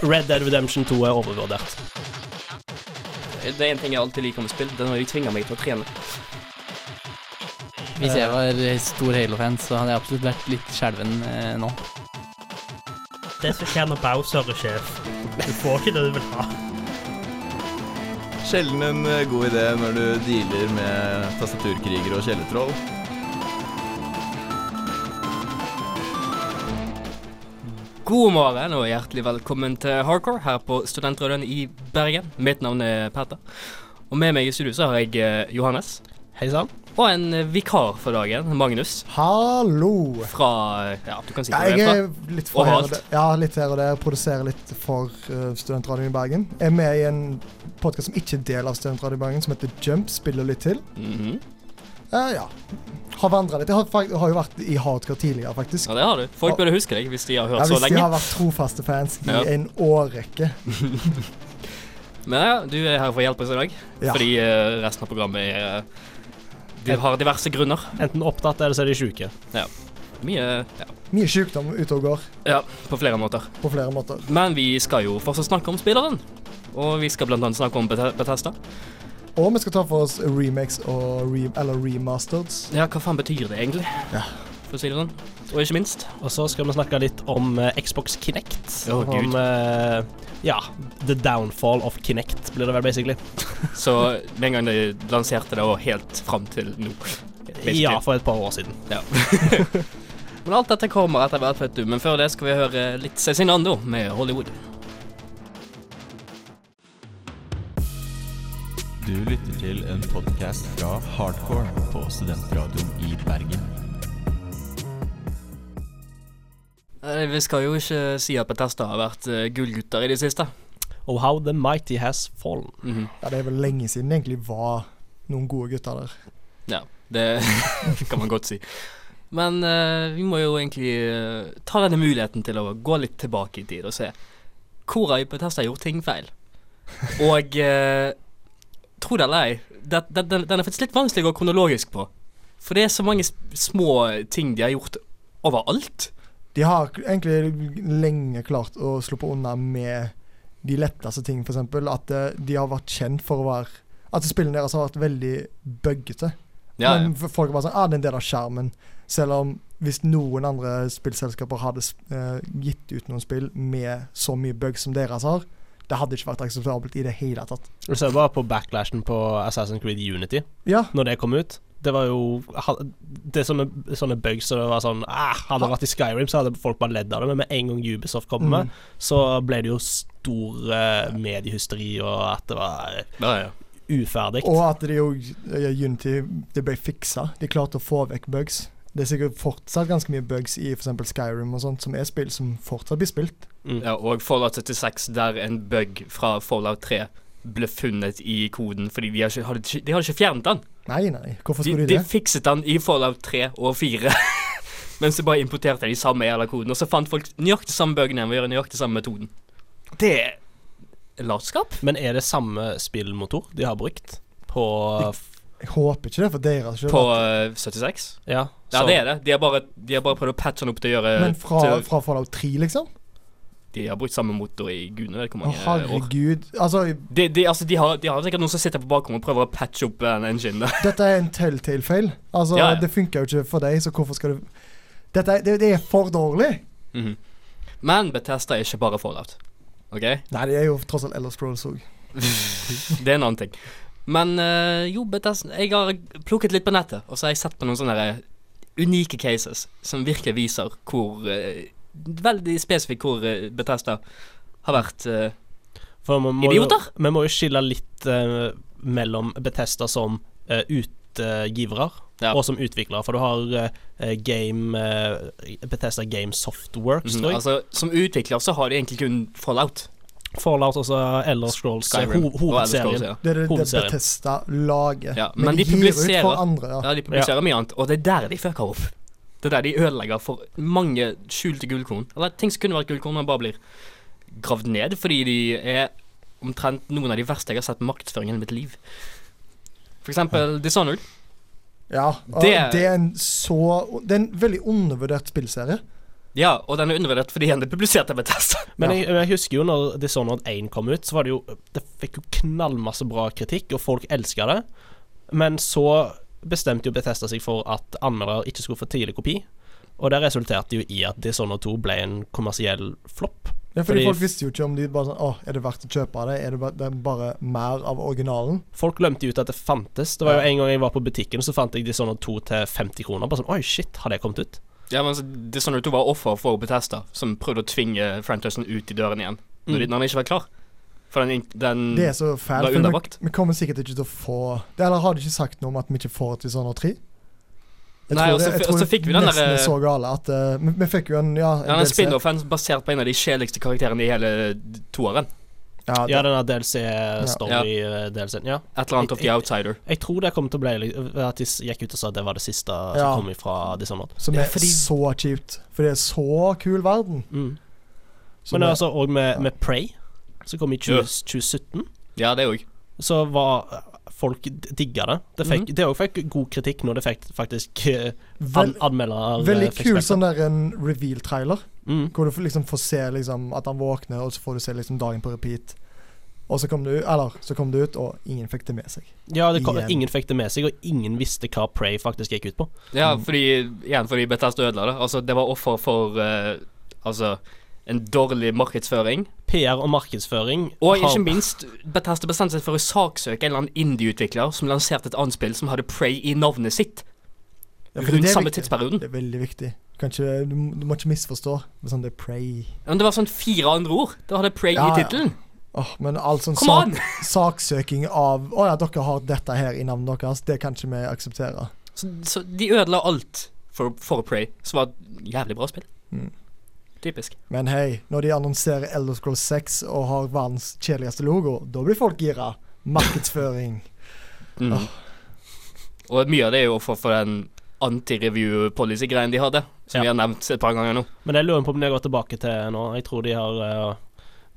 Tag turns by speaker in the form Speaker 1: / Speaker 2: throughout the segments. Speaker 1: Red Dead Redemption 2 er overvurdert.
Speaker 2: Det er en ting jeg alltid liker med spill. Det er når de tvinger meg til å trene.
Speaker 3: Hvis jeg var stor Halo-fan, så hadde jeg absolutt vært litt skjelven eh, nå.
Speaker 4: Det som skjer når Bowser er sjef. Du får ikke det du vil ha.
Speaker 5: Sjelden en eh, god idé når du dealer med tastaturkrigere og kjellertroll.
Speaker 2: God morgen og hjertelig velkommen til Hardcore her på Studentradioen i Bergen. Mitt navn er Petter. Og med meg i studio så har jeg eh, Johannes.
Speaker 6: Hei sann.
Speaker 2: Og en eh, vikar for dagen, Magnus.
Speaker 6: Hallo.
Speaker 2: Fra eh, Ja, du kan si
Speaker 6: Ja,
Speaker 2: hvor du
Speaker 6: jeg
Speaker 2: er
Speaker 6: er
Speaker 2: fra.
Speaker 6: litt for her og
Speaker 2: Overalt.
Speaker 6: der. Ja, litt her og der. Produserer litt for eh, Studentradioen i Bergen. Er med i en podkast som ikke er del av Studentradioen i Bergen, som heter Jump. Spiller litt til.
Speaker 2: Mhm.
Speaker 6: Eh, ja. Har vandra litt. Jeg har, fak- har jo vært i hardcore tidligere, faktisk.
Speaker 2: Ja, det har du. Folk burde huske deg hvis de har hørt
Speaker 6: Ja,
Speaker 2: så
Speaker 6: hvis de
Speaker 2: lenge.
Speaker 6: har vært trofaste fans i
Speaker 2: Ja.
Speaker 6: en årrekke.
Speaker 2: Men ja, du er her for å hjelpe oss i dag.
Speaker 6: Ja.
Speaker 2: Fordi eh, resten av programmet er eh, De har diverse grunner.
Speaker 1: Enten opptatt eller så er de sjuke.
Speaker 2: Mye ja,
Speaker 6: Mye sykdom ute og går
Speaker 2: ja, på flere måter.
Speaker 6: på flere måter.
Speaker 2: Men vi skal jo fortsatt snakke om spilleren. Og vi skal blant annet snakke om Beth- Bethesda.
Speaker 6: Og vi skal ta for oss remakes og re eller remasters.
Speaker 2: Ja, hva faen betyr det egentlig?
Speaker 6: Ja.
Speaker 2: For å si det sånn. Og ikke minst
Speaker 1: Og så skal vi snakke litt om eh, Xbox Kinect.
Speaker 2: Å, Gud.
Speaker 1: om eh, ja, the downfall of Kinect, blir det vel basically.
Speaker 2: Så den gangen de lanserte det, og helt fram til nå. Basically.
Speaker 1: Ja, for et par år siden.
Speaker 2: Men alt dette kommer etter hvert, vet du. Men før det skal vi høre litt Cezinando med Hollywood.
Speaker 5: Du lytter til en podkast fra Hardcore på Studentradioen i Bergen.
Speaker 2: Eh, Vi skal jo ikke si at Betesta har vært eh, gullgutter i det siste.
Speaker 1: Oh, how the mighty has fallen.
Speaker 2: Mhm.
Speaker 6: Ja, det er vel lenge siden det egentlig var noen gode gutter der.
Speaker 2: Ja, det kan man godt si. Men eh, vi må jo egentlig eh, ta denne muligheten til å gå litt tilbake i tid og se hvor har Betesta gjort ting feil. Og eh, tro det eller ei, det, det, den, den er faktisk litt vanskelig å gå kronologisk på. For det er så mange s- små ting de har gjort overalt.
Speaker 6: De har egentlig lenge klart å slippe unna med de letteste ting, f.eks. At eh, de har vært kjent for å være At spillene deres har vært veldig buggete.
Speaker 2: Ja, ja.
Speaker 6: Men f- folk er bare sånn Ja, ah, det er en del av skjermen. Selv om hvis noen andre spillselskaper hadde eh, gitt ut noen spill med så mye bugs som deres har, det hadde ikke vært akseptabelt i det hele tatt.
Speaker 1: Du ser bare på backlashen på Assassin's Creed Unity
Speaker 6: Ja,
Speaker 1: når det kom ut. Det var jo ha- Det er sånne, sånne bugs som så det var sånn ah, Hadde det vært i Skyrim, så hadde folk bare ledd av det, men med en gang Ubisoft kom med,
Speaker 6: Mm.
Speaker 1: så ble det jo stor eh, mediehysteri, og at det var
Speaker 2: ja, ja.
Speaker 1: uferdig.
Speaker 6: Og at det jo ja, Unity det ble fiksa. De klarte å få vekk bugs. Det er sikkert fortsatt ganske mye bugs i f.eks. Skyrim og sånt, som er spill som fortsatt blir spilt.
Speaker 2: Ja, og Fallout 76, der en bug fra Fallout 3 ble funnet i koden fordi de har ikke, hadde, ikke- de hadde ikke fjernet den.
Speaker 6: Nei, nei, hvorfor
Speaker 2: De,
Speaker 6: skulle de,
Speaker 2: de
Speaker 6: det?
Speaker 2: fikset den i Fallout 3 og 4. Mens de bare importerte de samme jævla koden. Og så fant folk nøyaktig samme bugene ved å gjøre nøyaktig samme metoden. Det er latskap.
Speaker 1: Men er det samme spillmotor de har brukt på
Speaker 6: Jeg håper ikke det for deres skyld.
Speaker 2: På eh, 76.
Speaker 1: Ja,
Speaker 2: Ja,
Speaker 1: så-
Speaker 2: det er det. De har bare, de har bare prøvd å patche den opp til å gjøre
Speaker 6: Men fra,
Speaker 2: eh, til,
Speaker 6: fra Fallout 3, liksom?
Speaker 2: De har brukt samme motor i gudene vet ikke hvor
Speaker 6: Å,
Speaker 2: mange år.
Speaker 6: herregud. Altså,
Speaker 2: De, de, altså, de, har, de har sikkert noen som sitter på bakrommet og prøver å patche opp eh, den enginen der.
Speaker 6: dette er en telltale-feil. Altså,
Speaker 2: Ja, ja.
Speaker 6: det funker jo ikke for deg, så hvorfor skal du Dette er, det, det er for dårlig!
Speaker 2: Mhm. Men Bethesda er ikke bare Fallout. OK?
Speaker 6: Nei, det er jo tross alt Elder Scrolls òg.
Speaker 2: Det er en annen ting. Men eh, jo, Bethesda Jeg har plukket litt på nettet, og så har jeg sett på noen sånne der unike cases som virkelig viser hvor eh, Veldig spesifikt hvor eh, Bethesda har vært eh,
Speaker 1: For man må jo,
Speaker 2: Idioter!
Speaker 1: vi må jo skille litt eh, mellom Betesta som eh, utgivere
Speaker 2: Ja.
Speaker 1: og som utviklere. For du har eh, game uh, Betesta Game Softworks,
Speaker 2: mhm,
Speaker 1: tror jeg.
Speaker 2: Altså, Som utvikler så har de egentlig kun Fallout.
Speaker 1: Fallout og så Elder Scrolls, eh,
Speaker 2: Skyrim,
Speaker 1: ho
Speaker 2: og Elder
Speaker 1: hovedserien.
Speaker 2: Scrolls, ja.
Speaker 6: Det er det, det
Speaker 1: Hovedserien.
Speaker 6: Bethesda lager.
Speaker 2: Ja, men
Speaker 6: men, de
Speaker 2: de
Speaker 6: gir ut
Speaker 2: publiserer-
Speaker 6: for andre. Ja.
Speaker 2: Ja, de publiserer mye annet, og det er der de fucker opp. Det er der de ødelegger for mange skjulte gullkorn. Eller ting som kunne vært gullkorn, men bare blir gravd ned fordi de er omtrent noen av de verste jeg har sett markedsføring i hele mitt liv. For eksempel Dishonored.
Speaker 6: Ja, og
Speaker 2: Det-
Speaker 6: det, er en så Det er en veldig undervurdert spillserie.
Speaker 2: Ja, og den er undervurdert fordi den er publisert av Bethesda.
Speaker 1: Men
Speaker 6: Ja.
Speaker 1: jeg, jeg husker jo når Dishonored 1 kom ut, så var det jo Det fikk jo knallmasse bra kritikk, og folk elska det. Men så bestemte jo Bethesda seg for at anmeldere ikke skulle få tidlig kopi. Og det resulterte jo i at Dishonored 2 ble en kommersiell flopp.
Speaker 6: Ja, fordi,
Speaker 1: Fordi-
Speaker 6: Folk visste jo ikke om de bare sånn Å, er det verdt å kjøpe det? Er det bare, det er bare mer av originalen?
Speaker 1: Folk glemte jo ut at det fantes. Det var jo
Speaker 6: Ja.
Speaker 1: En gang jeg var på butikken, så fant jeg Dishonored 2 til 50 kroner. Bare sånn Oi, shit, har det kommet ut?
Speaker 2: Ja, men altså, Dishonored 2 var offer for Bethesda, som prøvde å tvinge franchisen ut i døren igjen. Når, de,
Speaker 1: Mm.
Speaker 2: når den ikke var klar. For den, den
Speaker 6: Det er så fælt.
Speaker 2: var
Speaker 6: for Vi,
Speaker 2: undervakt.
Speaker 6: vi kommer sikkert ikke til å få det, Eller har de ikke sagt noe om at vi ikke får et Dishonored 3?
Speaker 2: Nei, og så
Speaker 6: det-
Speaker 2: fi- og så
Speaker 6: det
Speaker 2: fikk vi den
Speaker 6: nesten
Speaker 2: der-
Speaker 6: er så gale at eh, vi, vi fikk jo en Ja, en
Speaker 2: Ja, den
Speaker 6: DLC.
Speaker 2: spin-offen basert på en av de kjedeligste karakterene i hele toeren.
Speaker 6: Ja, det,
Speaker 1: Ja, den der DLC-story-DLC-en. Ja.
Speaker 2: Et eller annet of the Outsider.
Speaker 1: Jeg tror det kom til å bli li- At de s- gikk ut og sa at det var det siste
Speaker 6: Ja.
Speaker 1: som kom fra Dishonored.
Speaker 6: Som
Speaker 2: Ja,
Speaker 6: er
Speaker 2: fordi-
Speaker 6: så kjipt. For det er så kul verden.
Speaker 1: Mm.
Speaker 6: Som
Speaker 1: Men det
Speaker 6: er-
Speaker 1: er altså òg med,
Speaker 6: ja.
Speaker 1: med Prey, som kom i 20, 2017,
Speaker 2: Ja, det òg.
Speaker 1: så var eh, Folk d- digga det. Det fikk, det også fikk god kritikk når det fikk faktisk eh, an,
Speaker 6: Mhm. Vel,
Speaker 1: anmeldere eh,
Speaker 6: veldig
Speaker 1: fikk spilt
Speaker 6: kul
Speaker 1: det.
Speaker 6: sånn der en reveal-trailer.
Speaker 1: Mm.
Speaker 6: Hvor du får liksom får se liksom at han våkner, og så får du se liksom dagen på repeat. Og så kom det ut, eller, så kom det ut og ingen fikk det med seg.
Speaker 1: Ja, det kom,
Speaker 6: Igjen.
Speaker 1: ingen fikk det med seg, og ingen visste hva Prey faktisk gikk ut på.
Speaker 2: Ja,
Speaker 6: Mm.
Speaker 2: fordi, igjen fordi Bethesda ødela det. Altså, det var offer for eh, altså, en dårlig markedsføring.
Speaker 1: PR og markedsføring
Speaker 2: Og
Speaker 1: har-
Speaker 2: ikke minst, Bethesda bestemte seg for å saksøke en eller annen indie-utvikler som lanserte et annet spill som hadde Prey i navnet sitt
Speaker 6: Ja, fordi
Speaker 2: rundt
Speaker 6: det er
Speaker 2: samme
Speaker 6: viktig.
Speaker 2: tidsperioden.
Speaker 6: Det er veldig viktig. Du, kan ikke, du, må- du må ikke misforstå. Men sånn, det er pray.
Speaker 2: Men det var sånn fire andre ord. Det hadde Prey
Speaker 6: Ja,
Speaker 2: i
Speaker 6: ja.
Speaker 2: tittelen.
Speaker 6: Åh, men all sånn
Speaker 2: Kom
Speaker 6: sak,
Speaker 2: an!
Speaker 6: saksøking av Å ja, dere har dette her i navnet deres. Det kan ikke vi akseptere.
Speaker 2: Så, så de ødela alt for, for Prey, som var et jævlig bra spill.
Speaker 6: Mm.
Speaker 2: Typisk.
Speaker 6: Men hei, når de annonserer Elder Scrolls 6 og har verdens kjedeligste logo, da blir folk gira. Markedsføring.
Speaker 2: Mm.
Speaker 6: Åh.
Speaker 2: Og mye av det er jo offer for den anti-review-policy-greien de hadde, som
Speaker 1: Ja.
Speaker 2: vi har nevnt et par ganger nå.
Speaker 1: Men det lurer jeg på om de har gått tilbake til nå. Jeg tror de har eh,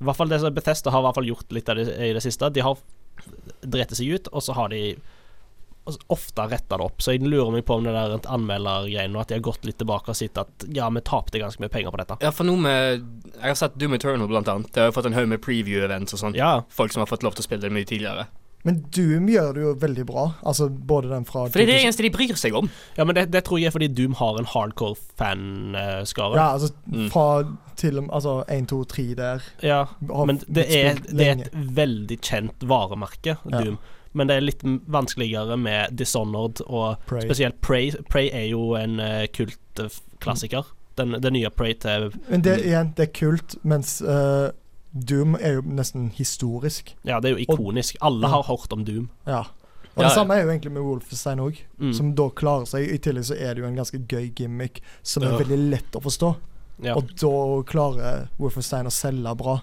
Speaker 1: I hvert fall det som Bethesda har i hvert fall gjort litt av det i det siste. De har drept seg ut, og så har de altså, ofte retta det opp. Så jeg lurer meg på om det der rundt anmeldergreiene og at de har gått litt tilbake og sett at ja, vi tapte ganske mye penger på dette.
Speaker 2: Ja, for noe med Jeg har sett Doom Eternal, blant annet. Det har jo fått en haug med preview-events og sånn.
Speaker 1: Ja,
Speaker 2: Folk som har fått lov til å spille det mye tidligere.
Speaker 6: Men Doom gjør det jo veldig bra. Altså både den fra
Speaker 2: For det er det eneste de bryr seg om.
Speaker 1: ja men det, det tror jeg er fordi Doom har en hardcore fanskare.
Speaker 6: Ja, altså
Speaker 2: Mm.
Speaker 6: fra til og med Altså 1, 2, 3 der.
Speaker 1: Ja. Men det er, det er et veldig kjent varemerke,
Speaker 6: Ja.
Speaker 1: Doom. Men det er litt m- vanskeligere med Dishonored og Spesielt Prey. Prey er jo en eh, kultklassiker. Den, den nye Prey til
Speaker 6: Men det, igjen, det er kult, mens eh, Doom er jo nesten historisk.
Speaker 1: Ja, det er jo ikonisk. Alle har hørt om Doom.
Speaker 6: Ja. Og
Speaker 2: Ja, ja.
Speaker 6: det samme er jo egentlig med Wolfenstein òg,
Speaker 1: Mm.
Speaker 6: som da klarer seg. I tillegg så er det jo en ganske gøy gimmick som er
Speaker 1: Ja.
Speaker 6: veldig lett å forstå.
Speaker 1: Ja.
Speaker 6: Og da klarer Wolfenstein å selge bra.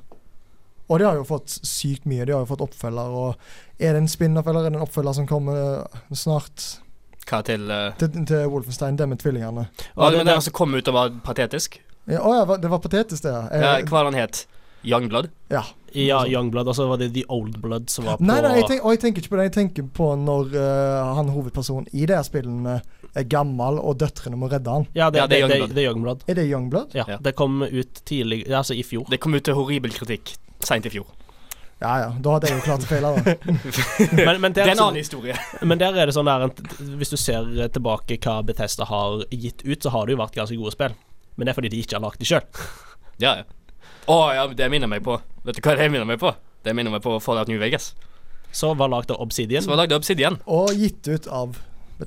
Speaker 6: Og de har jo fått sykt mye. De har jo fått oppfølger. Og er det en spin-off eller er det en oppfølger som kommer eh, snart?
Speaker 2: Hva til eh,
Speaker 6: Til, til Wolfenstein, det med tvillingene.
Speaker 2: Var
Speaker 1: det-
Speaker 2: det den som kom ut og var patetisk?
Speaker 6: Ja, å ja, hva- det var patetisk, det. ja.
Speaker 2: Ja,
Speaker 6: Eh,
Speaker 2: hva var den het? Youngblood?
Speaker 6: ja.
Speaker 1: Ja, Youngblood, og så var det The Old Blood som var på
Speaker 6: Nei, nei, jeg, tenk, og jeg tenker ikke på det. Jeg tenker på når eh, han hovedpersonen i de her spillene er gammel, og døtrene må redde han.
Speaker 1: Ja, det,
Speaker 2: Ja, det
Speaker 1: det,
Speaker 2: er
Speaker 1: det,
Speaker 2: Youngblood.
Speaker 1: det er Youngblood.
Speaker 6: Er det Youngblood?
Speaker 1: Ja,
Speaker 2: Ja.
Speaker 1: Det kom ut tidlig Altså i fjor.
Speaker 2: Det kom ut til horribel kritikk seint i fjor.
Speaker 6: Ja ja, da hadde jeg jo klart å feile. da.
Speaker 1: Men, men,
Speaker 2: Det
Speaker 1: der,
Speaker 2: er en annen historie.
Speaker 1: men der er det sånn der at Hvis du ser tilbake hva Bethesda har gitt ut, så har det jo vært ganske gode spill. Men det er fordi de ikke har lagd de sjøl.
Speaker 2: Ja, ja. Å ja, det minner meg på Vet du hva det minner meg på? Det minner meg på Fallout New Vegas.
Speaker 1: Så var lagd av Obsidian.
Speaker 2: Som var lagd av Obsidian.
Speaker 6: Og gitt ut av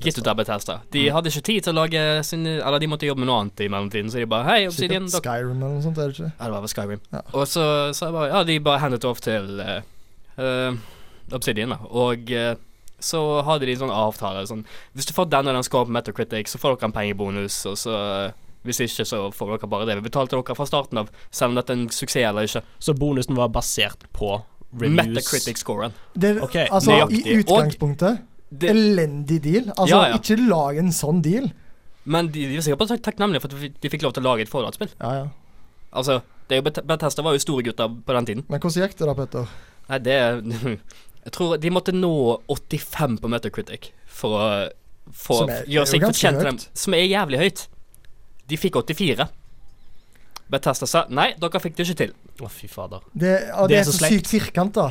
Speaker 2: Gitt ut av Bethesda. De hadde ikke tid til å lage sin Eller de måtte jobbe med noe annet i mellomtiden, så de bare Hei, Obsidian.
Speaker 6: Sikkert
Speaker 2: Dere.
Speaker 6: Skyrim eller noe sånt, er det ikke?
Speaker 2: Ja, det var vel Skyrim.
Speaker 6: Ja.
Speaker 2: Og så sa jeg bare Ja, de bare hendet off til eh, eh, Obsidian, da. Og eh, så hadde de en sånn avtale sånn Hvis du får den og den score på Metacritic, så får dere en pengebonus, og så eh, hvis ikke, så får dere bare det. Vi betalte dere fra starten av, selv om dette er en suksess eller ikke.
Speaker 1: Så bonusen var basert på reviews.
Speaker 2: Metacritic-scoren.
Speaker 6: Det, er-
Speaker 1: Ok,
Speaker 6: altså, I
Speaker 2: nøyaktig.
Speaker 6: utgangspunktet
Speaker 2: Det-
Speaker 6: elendig deal. Altså,
Speaker 2: Ja, ja.
Speaker 6: ikke lag en sånn deal.
Speaker 2: Men de, de var sikkert bare tak- takknemlige for at de fikk- de fikk lov til å lage et Fallout-spill.
Speaker 6: Ja, ja.
Speaker 2: Altså, det er jo Bet- Bethesda var jo store gutter på den tiden.
Speaker 6: Men hvordan gikk det da, Petter?
Speaker 2: Nei, det Jeg tror de måtte nå 85 på Metacritic for å for,
Speaker 6: Som er-
Speaker 2: gjøre
Speaker 6: det er
Speaker 2: seg
Speaker 6: jo ganske
Speaker 2: fortjent til dem.
Speaker 6: høyt.
Speaker 2: Som er jævlig høyt. De fikk 84. Bethesda sa nei, dere fikk det ikke til.
Speaker 1: Å, fy fader.
Speaker 6: Det, ja, det, er så,
Speaker 1: slemt.
Speaker 6: sykt firkanta.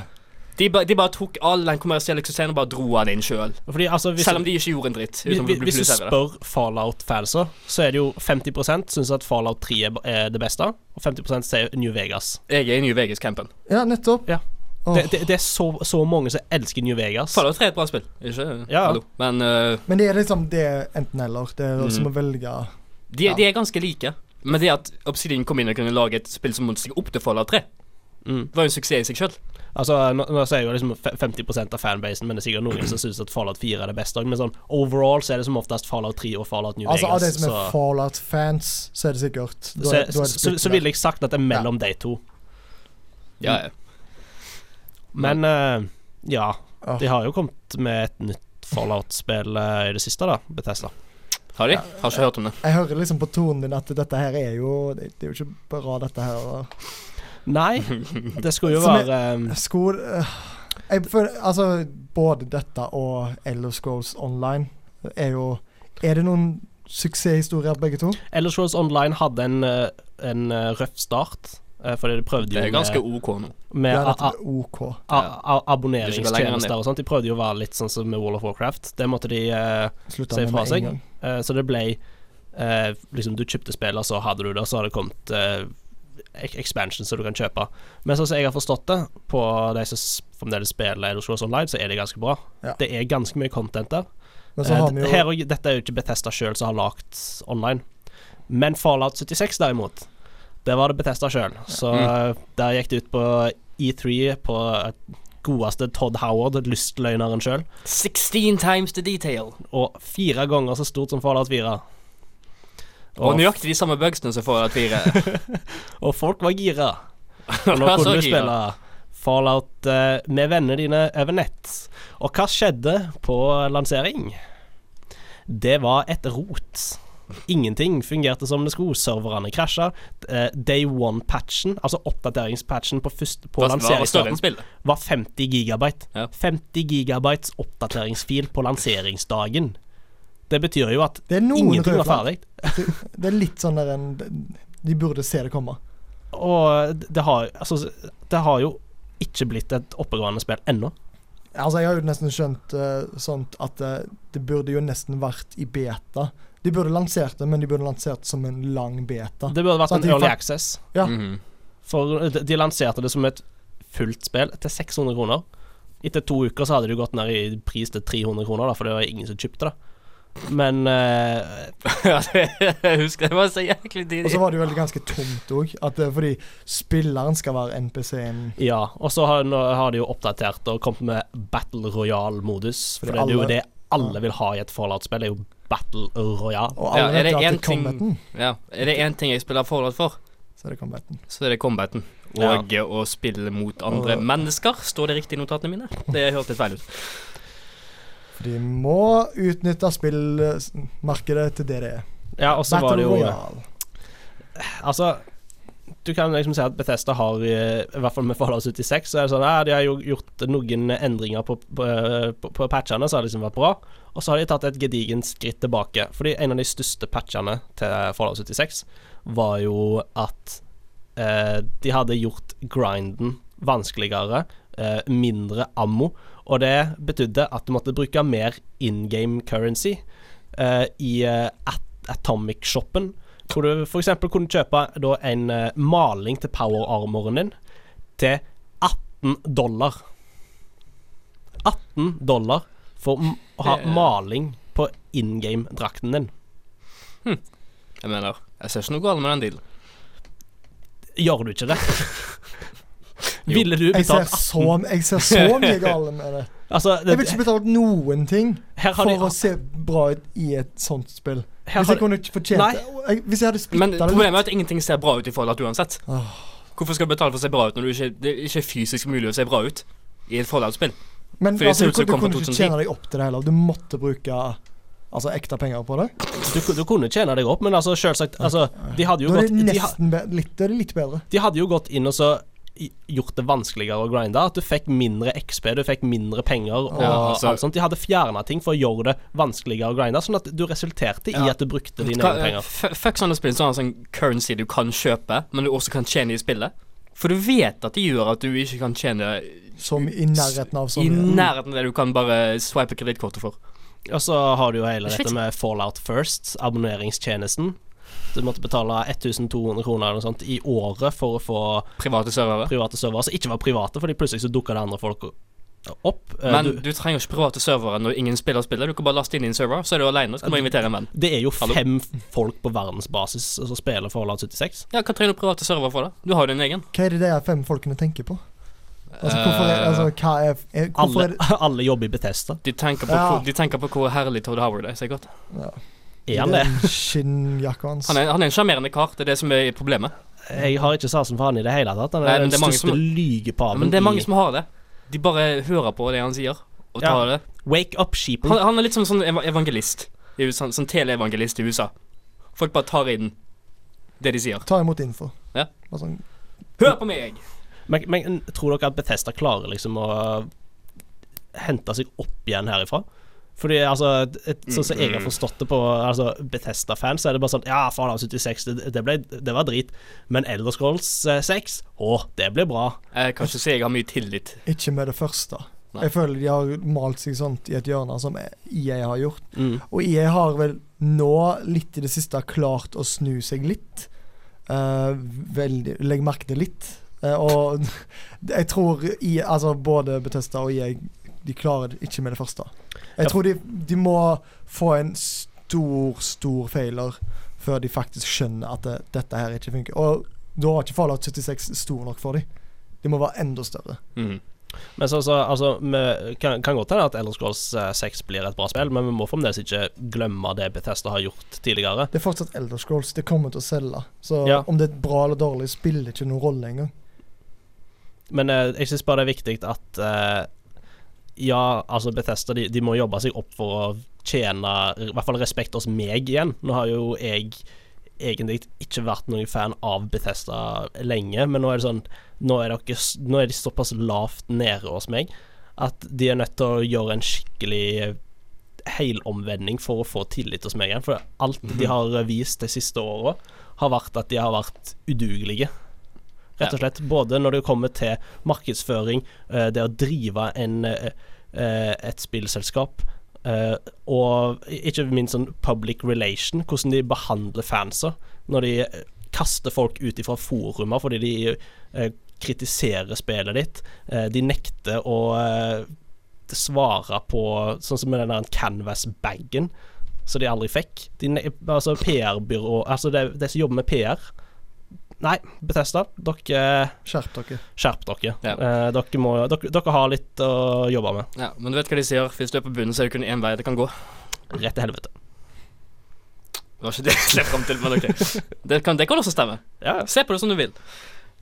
Speaker 2: De, ba, de bare tok all den kommersielle suksessen og bare dro den inn sjøl.
Speaker 1: Fordi, altså, hvis,
Speaker 2: Selv om de ikke gjorde en dritt.
Speaker 1: hvis,
Speaker 2: Uten å bli
Speaker 1: hvis, hvis du
Speaker 2: publisert ved det.
Speaker 1: spør Fallout-fanser, så er det jo 50 syns at Fallout 3 er, b- er det beste, og 50 sier New Vegas.
Speaker 2: Jeg er i New Vegas-campen.
Speaker 6: Ja, nettopp.
Speaker 1: Ja.
Speaker 6: Åh,
Speaker 1: Det, det, det er så, så mange som elsker New Vegas.
Speaker 2: Fallout 3 er et bra spill. Ikke?
Speaker 1: Ja.
Speaker 2: Hallo. Men øh,
Speaker 6: Men det er liksom det er enten-eller. Det er
Speaker 2: Mm.
Speaker 6: som å velge
Speaker 2: de,
Speaker 6: Ja.
Speaker 2: de er ganske like. Men det at Obsidian kom inn og kunne lage et spill som måtte stikke opp til Fallout 3,
Speaker 1: Mm.
Speaker 2: var jo en suksess i seg sjøl.
Speaker 1: Altså, nå, nå sier jeg jo liksom fe- 50 av fanbasen, men det er sikkert noen som syns at Fallout 4 er det beste òg. Men sånn overall så er det som oftest Fallout 3 og Fallout New
Speaker 6: Altså, Av de
Speaker 1: Vegas.
Speaker 6: som er
Speaker 1: Så,
Speaker 6: Fallout-fans, så er det sikkert da
Speaker 1: så,
Speaker 6: er- da
Speaker 1: så,
Speaker 6: er det
Speaker 1: så,
Speaker 6: splitten
Speaker 1: så
Speaker 6: der.
Speaker 1: ville jeg sagt at det er mellom de to. Mm.
Speaker 2: Ja, ja.
Speaker 1: Men eh, ja.
Speaker 6: Ja.
Speaker 1: De har jo kommet med et nytt Fallout-spill eh, i det siste, da. Bethesda.
Speaker 2: Har de? Har ikke hørt om det.
Speaker 6: Jeg hører liksom på tonen din at dette her er jo Det, det er jo ikke bra, dette her. og-
Speaker 1: Nei, det skulle jo
Speaker 6: Som er-
Speaker 1: være eh,
Speaker 6: Skol øh, jeg føler, Altså, både dette og Elder Scrolls Online er jo Er det noen suksesshistorier, begge to?
Speaker 1: Elder Scrolls Online hadde en, eh, en eh, røff start, eh, fordi de prøvde
Speaker 2: Det
Speaker 1: jo
Speaker 2: er ganske
Speaker 1: med,
Speaker 2: OK nå.
Speaker 1: med
Speaker 6: ja,
Speaker 1: a,
Speaker 6: dette er OK.
Speaker 1: a,
Speaker 2: Ja.
Speaker 1: a,
Speaker 2: Det skal gå lenger enn det.
Speaker 1: abonneringstjenester og sånt. De prøvde jo å være litt sånn som med Wall of Warcraft. Det måtte de eh,
Speaker 6: Slutta
Speaker 1: Si
Speaker 6: med
Speaker 1: fra
Speaker 6: med
Speaker 1: seg.
Speaker 6: en gang.
Speaker 1: Eh, så det ble eh, Liksom, du kjøpte spill, og så hadde du det, og så har det kommet eh, ek- expansion som du kan kjøpe. Men sånn som jeg har forstått det, på de som s- fremdeles spiller Elder Scrolls Online, så er det ganske bra.
Speaker 6: Ja.
Speaker 1: Det er ganske mye content der.
Speaker 6: Men så har
Speaker 1: Eh,
Speaker 6: vi
Speaker 1: d-
Speaker 6: jo
Speaker 1: her og, dette er jo ikke Bethesda sjøl som har lagd online. Men Fallout 76, derimot, det var det Bethesda sjøl. Så eh, der gikk det ut på E3 på eh, godeste Todd Howard, lystløgneren sjøl,
Speaker 2: 16 times the detail.
Speaker 1: og fire ganger så stort som Fallout 4.
Speaker 2: Og nøyaktig de samme bugsene som Fallout 4.
Speaker 1: Og folk var gira. Og nå
Speaker 2: Nå
Speaker 1: kunne
Speaker 2: eh, så
Speaker 1: du
Speaker 2: gira.
Speaker 1: spille Fallout eh, med vennene dine over nett. Og hva skjedde på lansering? Det var et rot. Ingenting fungerte som det skulle. Serverne krasja. Eh, Day one-patchen, altså oppdateringspatchen på, først- på
Speaker 2: Hva- hva var større enn
Speaker 1: lanseringsdagen,
Speaker 2: spillet?
Speaker 1: var 50 gigabyte.
Speaker 2: Ja.
Speaker 1: 50 gigabytes oppdateringsfil på lanseringsdagen. Det betyr jo at
Speaker 6: Det er noen
Speaker 1: ingenting
Speaker 6: røde
Speaker 1: var
Speaker 6: flagg.
Speaker 1: ferdig.
Speaker 6: Det er litt sånn der en De burde se det komme.
Speaker 1: Og det har, altså, det har jo ikke blitt et oppegående spill ennå.
Speaker 6: Altså, jeg har jo nesten skjønt eh, sånt at eh, det burde jo nesten vært i beta. De burde lansert det, men de burde lansert det som en lang beta.
Speaker 1: Det burde vært
Speaker 6: Så at
Speaker 1: en
Speaker 6: de
Speaker 1: early
Speaker 6: fa-
Speaker 1: access.
Speaker 6: Ja.
Speaker 2: Mhm.
Speaker 1: For de de lanserte det som et fullt spill til 600 kroner. Etter to uker så hadde det jo gått ned i pris til 300 kroner, da, for det var ingen som kjøpte det. Men eh,
Speaker 2: Ja, det- jeg husker det var så jæklig
Speaker 6: Og så
Speaker 2: tidlig.
Speaker 6: var det jo veldig ganske tomt òg, fordi spilleren skal være NPC-en.
Speaker 1: ja. Og så har, nå har de jo oppdatert og kommet med battle royal-modus. For
Speaker 6: Fordi
Speaker 1: det er jo
Speaker 6: alle-
Speaker 1: det alle vil ha i et Fallout-spill, er jo battle royal.
Speaker 6: Og
Speaker 2: Ja,
Speaker 6: alle
Speaker 2: er
Speaker 6: vet
Speaker 2: det
Speaker 6: jo at
Speaker 2: en
Speaker 6: det er
Speaker 2: ting-
Speaker 6: combaten,
Speaker 2: Ja. Er det én ting jeg spiller Fallout for,
Speaker 6: så er det combaten.
Speaker 2: så er det combaten. Og å spille mot andre
Speaker 6: Og-
Speaker 2: mennesker. Står det riktig i notatene mine? Det hørtes feil ut.
Speaker 6: For de må utnytte spillmarkedet til det det er.
Speaker 1: Ja, og så var det
Speaker 6: Battle
Speaker 1: jo eh,
Speaker 6: Royale.
Speaker 1: Altså du kan liksom si at Bethesda har, eh, i hvert fall med Fallout 76, så er det sånn ja, De har jo gjort noen endringer på, på, eh, på, på patchene, så har det liksom vært bra. Og så har de tatt et gedigent skritt tilbake. Fordi en av de største patchene til Fallout 76 var jo at eh, de hadde gjort grinden vanskeligere, eh, mindre ammo, og det betydde at du måtte bruke mer in game currency eh, i eh, At- Atomic-shoppen. Hvor du f.eks. kunne kjøpe da, en eh, maling til power-armoren din til 18 dollar. 18 dollar for m- å ha
Speaker 2: Det er-
Speaker 1: maling på in game-drakten din.
Speaker 2: Jeg mener, jeg ser ikke noe galt med den dealen.
Speaker 1: Gjør du ikke det?
Speaker 2: Jo.
Speaker 1: Ville du
Speaker 6: Jeg ser,
Speaker 1: betalt
Speaker 6: så, jeg ser så mye galt med det.
Speaker 1: Altså,
Speaker 6: Jeg vil
Speaker 1: det,
Speaker 6: ikke betale noen ting
Speaker 1: her har
Speaker 6: for
Speaker 1: de
Speaker 6: å se bra ut i et sånt spill.
Speaker 1: her har
Speaker 6: Hvis jeg
Speaker 1: de,
Speaker 6: kunne ikke fortjent
Speaker 1: Nei.
Speaker 6: det jeg- Hvis jeg hadde
Speaker 2: Men
Speaker 6: splitta det litt
Speaker 2: problemet er at ingenting ser bra ut i Fallout uansett.
Speaker 6: Åh.
Speaker 2: Hvorfor skal du betale for å se bra ut når du ikke, det ikke er fysisk mulig å se bra ut i et Fallout-spill?
Speaker 6: Men
Speaker 2: fordi det
Speaker 6: altså,
Speaker 2: ser
Speaker 6: du,
Speaker 2: ut som
Speaker 6: kunne- du
Speaker 2: det kom fra
Speaker 6: kunne ikke
Speaker 2: 2010.
Speaker 6: tjene deg opp til det heller. Du måtte bruke altså, ekte penger på det.
Speaker 1: du, du kunne tjene deg opp, men altså, selvsagt altså, De hadde jo
Speaker 6: Da er
Speaker 1: gått
Speaker 6: det
Speaker 1: de, ha-
Speaker 6: nesten be litt, det er litt bedre.
Speaker 1: de hadde jo gått inn og så i- gjort det vanskeligere å grinde. At du fikk mindre XP, du fikk mindre penger og
Speaker 2: Ja, altså-
Speaker 1: alt sånt. De hadde fjerna ting for å gjøre det vanskeligere å grinde, sånn at du resulterte
Speaker 2: Ja.
Speaker 1: i at du brukte dine
Speaker 2: Hva-
Speaker 1: egne penger.
Speaker 2: f- Fuck sånne spill som har sånn currency du kan kjøpe, men du også kan tjene i spillet. For du vet at de gjør at du ikke kan tjene
Speaker 6: Som i nærheten av
Speaker 2: i
Speaker 6: sånn
Speaker 2: nærheten av det du kan bare swipe kredittkortet for.
Speaker 1: Og så har du jo hele
Speaker 2: Shit.
Speaker 1: dette med Fallout First, abonneringstjenesten. Du måtte betale 1200 kroner eller noe sånt i året for å få
Speaker 2: Private servere.
Speaker 1: private servere som ikke var private, fordi plutselig så dukka det andre folk opp. Eh,
Speaker 2: Men
Speaker 1: du,
Speaker 2: du trenger ikke private servere når ingen spiller spiller. Du kan bare laste inn i en server, så er du alene, så kan du bare invitere en venn.
Speaker 1: det er jo
Speaker 2: Hallo?
Speaker 1: fem folk på verdensbasis som spiller Fallout 76.
Speaker 2: Ja, hva trenger du private servere for, da? Du har jo din egen.
Speaker 6: Hva er det de her fem folkene tenker på? Altså, hvorfor er,
Speaker 2: Eh,
Speaker 6: altså, hva er, er, hvorfor er
Speaker 1: Alle, alle jobber i Bethesda.
Speaker 2: de, tenker på
Speaker 6: Ja.
Speaker 2: hvor, de tenker på hvor herlig Todd Howard er, sikkert.
Speaker 1: Er han det?
Speaker 6: den Skinnjakka hans.
Speaker 2: Han er, han er en sjarmerende kar, det er det som er problemet.
Speaker 1: Jeg har ikke sansen for han i det hele tatt. Han
Speaker 2: Nei,
Speaker 1: er
Speaker 2: men
Speaker 1: den
Speaker 2: det er mange
Speaker 1: største
Speaker 2: som- Ja,
Speaker 1: lygepaven
Speaker 2: men det er mange
Speaker 1: i
Speaker 2: som har det. De bare hører på det han sier, og
Speaker 1: Ja.
Speaker 2: tar det.
Speaker 1: Wake up, sheeple.
Speaker 2: Han, han er litt som en sånn eva- evangelist i USA, sånn teleevangelist i USA. Folk bare tar inn det de sier.
Speaker 6: Ta imot info.
Speaker 2: Ja.
Speaker 6: Bare sånn,
Speaker 2: Hør på meg!
Speaker 1: Men, men tror dere at Bethesda klarer liksom å hente seg opp igjen herifra? Fordi altså, et, et, sånn som jeg har forstått det på altså, Bethesda-fans, så er det bare sånn Ja, Fallout 76, det, det, ble, det var drit. Men Elder Scrolls eh, 6, å, det ble bra.
Speaker 2: Jeg kan ikke si Eh, jeg har mye tillit.
Speaker 6: ikke med det første.
Speaker 2: Nei.
Speaker 6: Jeg føler de har malt seg sånt i et hjørne, som EA har gjort.
Speaker 1: Mm.
Speaker 6: Og EA har vel nå, litt i det siste, klart å snu seg litt. Eh, veldig, legg merke til litt. Eh, og jeg tror i, altså, både Betesta og jeg de klarer det ikke med det første. Jeg
Speaker 1: Ja.
Speaker 6: tror de, de må få en stor, stor feiler før de faktisk skjønner at det, dette her ikke funker. Og da har ikke Fallout 76 stor nok for dem. De må være enda større.
Speaker 2: Mhm.
Speaker 1: Men så, så altså, vi kan, kan godt hende at Elder Scrolls eh, 6 blir et bra spill, men vi må fremdeles ikke glemme det Bethesda har gjort tidligere.
Speaker 6: Det er fortsatt Elder Scrolls. Det kommer til å selge. Så
Speaker 1: Ja.
Speaker 6: om det er bra eller dårlig, spiller ikke noen rolle engang.
Speaker 1: Men eh, jeg syns bare det er viktig at eh, Ja, altså, Bethesda de, de må jobbe seg opp for å tjene i hvert fall respekt hos meg igjen. Nå har jo jeg egentlig ikke vært noen fan av Bethesda lenge, men nå er det sånn Nå er, dere, s- nå er de såpass lavt nede hos meg at de er nødt til å gjøre en skikkelig helomvending for å få tillit hos meg igjen. For alt de har vist de siste åra, har vært at de har vært udugelige. Rett og slett. Både når det kommer til markedsføring, eh, det å drive en, eh, eh, et spillselskap, eh, og i- ikke minst sånn public relation, hvordan de behandler fanser. Når de eh, kaster folk ut ifra forumer fordi de eh, kritiserer spillet ditt. Eh, de nekter å eh, svare på sånn som med den der canvas-bagen som de aldri fikk. De, ne- altså PR-byrå Altså de, de som jobber med PR. Nei, Betesta, dere
Speaker 6: Skjerp dere.
Speaker 1: Skjerp dere.
Speaker 2: Ja.
Speaker 1: Eh, dere, må, dere. Dere har litt å jobbe med.
Speaker 2: Ja, men du vet hva de sier. Hvis du er på bunnen, så er det kun én vei det kan gå.
Speaker 1: Rett til helvete.
Speaker 2: Det var ikke det jeg slet frem til, men ok. Det kan, det kan også stemme.
Speaker 1: Ja.
Speaker 2: Se på det som du vil.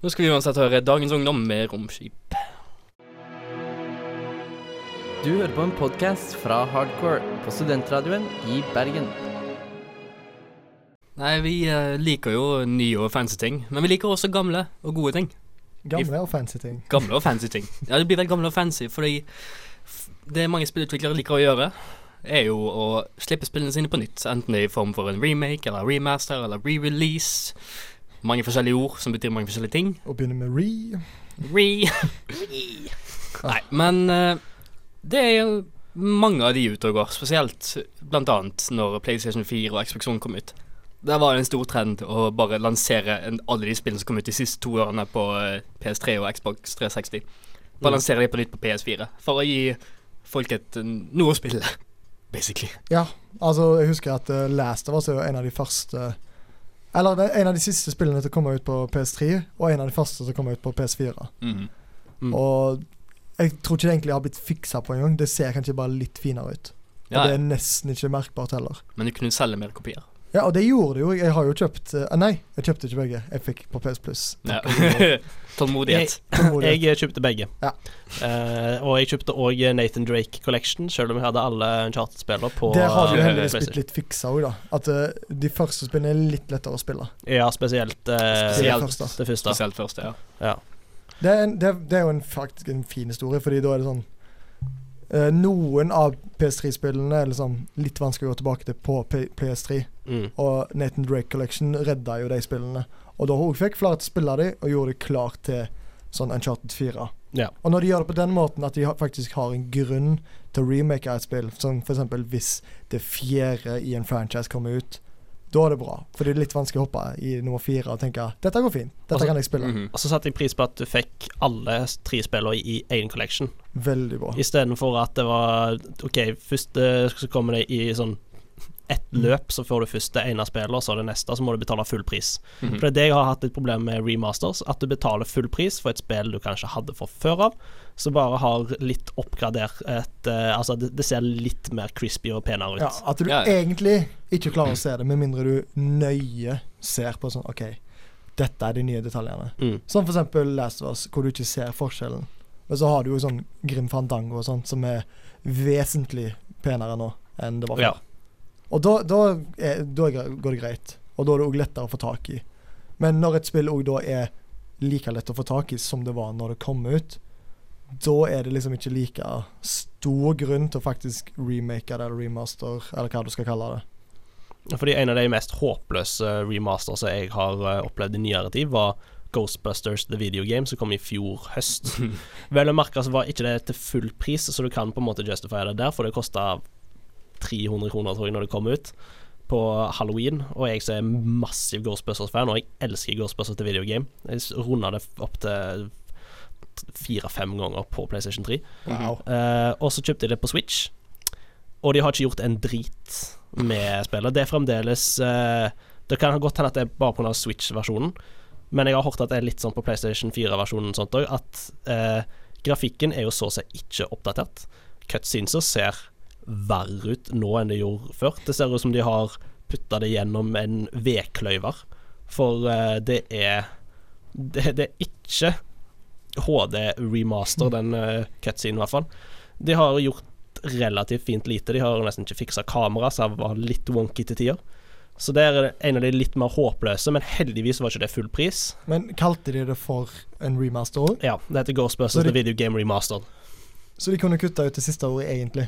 Speaker 2: Nå skal vi uansett høre Dagens Ungdom med Romskip.
Speaker 3: Du hører på en podkast fra Hardcore på studentradioen i Bergen.
Speaker 2: Nei, vi eh, liker jo nye og fancy ting, men vi liker også gamle og gode ting.
Speaker 6: Gamle og fancy ting.
Speaker 2: Gamle og fancy ting. Ja, det blir vel gamle og fancy, fordi f- det mange spillutviklere liker å gjøre, er jo å slippe spillene sine på nytt. Enten det er i form for en remake, eller remaster, eller re-release. Mange forskjellige ord som betyr mange forskjellige ting.
Speaker 6: Og begynner med re.
Speaker 2: Re. Nei, men eh, det er jo mange av de ute og går, spesielt blant annet når PlayStation 4 og Xbox One kom ut. Der var det en stor trend å bare lansere en, alle de spillene som kom ut de siste to årene på eh, PS3 og Xbox 360.
Speaker 6: Mm.
Speaker 2: Bare lansere de på nytt på PS4, for å gi folk et, eh, noe å spille, basically.
Speaker 6: Ja, altså, jeg husker at eh, Last of Us er jo en av de første Eller det er en av de siste spillene til å komme ut på PS3, og en av de første til å komme ut på PS4.
Speaker 1: Mm.
Speaker 6: Og jeg tror ikke det egentlig har blitt fiksa på engang. Det ser kanskje bare litt finere ut. Og
Speaker 2: Ja,
Speaker 6: det er nesten ikke merkbart heller.
Speaker 2: men du kunne selge mer kopier.
Speaker 6: Ja, og det gjorde det jo. Jeg har jo kjøpt eh, Nei, jeg kjøpte ikke begge. Jeg fikk på PS Plus.
Speaker 2: Ja.
Speaker 6: Takk og lov.
Speaker 2: Tålmodighet.
Speaker 6: Tålmodighet.
Speaker 1: Jeg kjøpte begge.
Speaker 6: Ja.
Speaker 1: Eh, og jeg kjøpte òg Nathan Drake Collection, selv om jeg hadde alle Uncharted-spillene på
Speaker 6: Der har de jo
Speaker 1: eh,
Speaker 6: heldigvis blitt
Speaker 1: PlayStation.
Speaker 6: litt fiksa òg, da. At eh, de første spillene er litt lettere å spille.
Speaker 1: Ja, spesielt, eh,
Speaker 6: Det er
Speaker 2: Spesielt.
Speaker 6: det første.
Speaker 1: det første.
Speaker 2: Spesielt først, ja.
Speaker 1: Ja.
Speaker 6: Det er, en, det, er- det er jo en, faktisk en fin historie, fordi da er det sånn eh, Noen av PS3-spillene er liksom litt vanskelig å gå tilbake til på P PS3,
Speaker 1: Mm.
Speaker 6: og Nathan Drake Collection redda jo de spillene. Og da hun fikk flere til å spille de, og gjorde det klart til sånn Uncharted 4.
Speaker 1: Ja.
Speaker 6: Og når de gjør det på den måten at de har, faktisk har en grunn til å remake et spill, som f.eks. hvis det fjerde i en franchise kommer ut, da er det bra. For det er litt vanskelig å hoppe i nummer fire og tenke dette går fint, dette
Speaker 1: Altså,
Speaker 6: kan jeg spille.
Speaker 2: Mhm.
Speaker 1: Og så satte jeg pris på at du fikk alle tre spillene i én collection,
Speaker 6: Veldig bra.
Speaker 1: istedenfor at det var OK, først eh, så kommer det i sånn ett løp, så får du først det ene spillet, og så det neste, så må du betale full pris. For
Speaker 6: Mm-hmm.
Speaker 1: det er det jeg har hatt litt problem med remasters, at du betaler full pris for et spill du kanskje hadde fra før av, som bare har litt oppgradert et eh, Altså, det, det ser litt mer crispy og penere ut.
Speaker 6: Ja, at du
Speaker 2: Ja, ja.
Speaker 6: egentlig ikke klarer å se det, med mindre du nøye ser på sånn OK, dette er de nye detaljene.
Speaker 1: Mm.
Speaker 6: Sånn for eksempel Last of Us, hvor du ikke ser forskjellen. Men så har du jo sånn Grim Fandango og sånt, som er vesentlig penere nå enn det var
Speaker 1: Ja.
Speaker 6: før. Og da, da, er, da er gre- går det greit. Og da er det òg lettere å få tak i. Men når et spill òg da er like lett å få tak i som det var når det kom ut, da er det liksom ikke like stor grunn til å faktisk remake det, eller remaster, eller hva du skal kalle det.
Speaker 1: Fordi en av de mest håpløse remasters jeg har eh, opplevd i nyere tid, var Ghostbusters The Video Game, som kom i fjor høst. Vel å merke så var ikke det til full pris, så du kan på en måte justify det der, for det kosta 300 kroner, tror jeg, når det kom ut på halloween. Og jeg som er massiv Ghostbusters-fan, og jeg elsker Ghostbusters The Video Game. Jeg runda det opp til fire-fem ganger på PlayStation 3.
Speaker 6: Wow.
Speaker 1: Eh, og så kjøpte jeg det på Switch, og de har ikke gjort en drit med spillet. Det er fremdeles eh, Det kan godt hende at det er bare pga. Switch-versjonen, men jeg har hørt at det er litt sånn på PlayStation 4-versjonen sånt òg, at eh, grafikken er jo så å si ikke oppdatert. Cutsceneser ser verre ut nå enn det gjorde før. Det ser ut som de har putta det gjennom en vedkløyver, for eh, det er det, det er ikke HD-remaster, den uh, cutscenen i hvert fall. De har gjort relativt fint lite. De har nesten ikke fiksa kamera, så det var litt wonky til tider. Så der er det en av de litt mer håpløse, men heldigvis var ikke det full pris.
Speaker 6: Men kalte de det for en remaster òg?
Speaker 1: Ja, det heter Ghostbusters
Speaker 6: Så de-
Speaker 1: The Video Game Remastered.
Speaker 6: Så de kunne kutta ut det siste ordet, egentlig.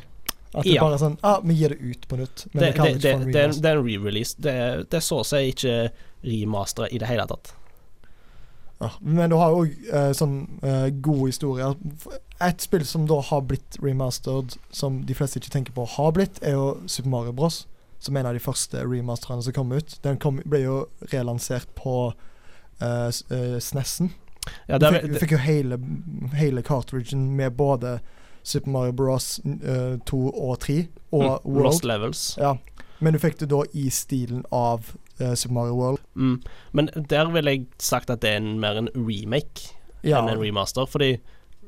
Speaker 6: At det
Speaker 1: Ja.
Speaker 6: bare er sånn ah, Vi gir det ut på nytt, men
Speaker 1: Det,
Speaker 6: vi
Speaker 1: det,
Speaker 6: kaller
Speaker 1: det,
Speaker 6: det ikke for en
Speaker 1: det, er en-
Speaker 6: remaster.
Speaker 1: det er en re-release. Det, er- det er så å si ikke remasteret i det hele tatt.
Speaker 6: Ja. Men du har jo òg eh, sånn eh, gode historier. Et spill som da har blitt remastered, som de fleste ikke tenker på har blitt, er jo Super Mario Bros. Som er en av de første remasterne som kom ut. Den kom, ble jo relansert på eh, s- eh, SNES-en.
Speaker 1: Ja,
Speaker 6: Du
Speaker 1: det,
Speaker 6: fikk,
Speaker 1: er-
Speaker 6: du
Speaker 1: det,
Speaker 6: fikk jo hele, hele cartridgen med både Super Mario Bros. eh, 2 og 3 og
Speaker 1: mm, Lost
Speaker 6: World.
Speaker 1: Levels.
Speaker 6: Ja. Men du fikk det da i stilen av eh, Super Mario World.
Speaker 1: Mm. Men der ville jeg sagt at det er en, mer en remake
Speaker 6: Ja,
Speaker 1: enn en remaster, fordi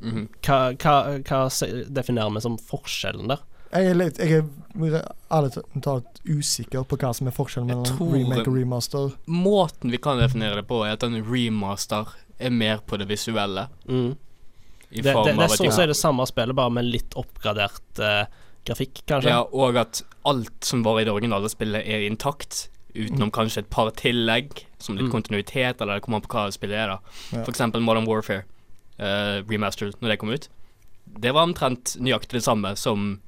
Speaker 2: Mhm.
Speaker 1: hva, hva, hva se- definerer vi som forskjellen der?
Speaker 6: jeg er, litt, jeg er ærlig talt usikker på hva som er forskjellen
Speaker 2: Jeg
Speaker 6: mellom
Speaker 2: tror-
Speaker 6: remake og remaster.
Speaker 2: Måten vi kan definere det på, er at en remaster er mer på det visuelle.
Speaker 1: Mm.
Speaker 2: I
Speaker 1: det,
Speaker 2: form
Speaker 1: det, det
Speaker 2: av
Speaker 1: er
Speaker 2: at
Speaker 1: sånn
Speaker 2: de-
Speaker 1: som er det samme spillet, bare med litt oppgradert eh, grafikk, kanskje.
Speaker 2: Ja, og at alt som var i det originale spillet, er intakt. Utenom kanskje et par tillegg, som
Speaker 1: Mm.
Speaker 2: litt kontinuitet, eller det kommer an på hva spillet er. da.
Speaker 6: Ja.
Speaker 2: For eksempel Modern Warfare, eh, remastered, når det kom ut. Det var omtrent nøyaktig det samme som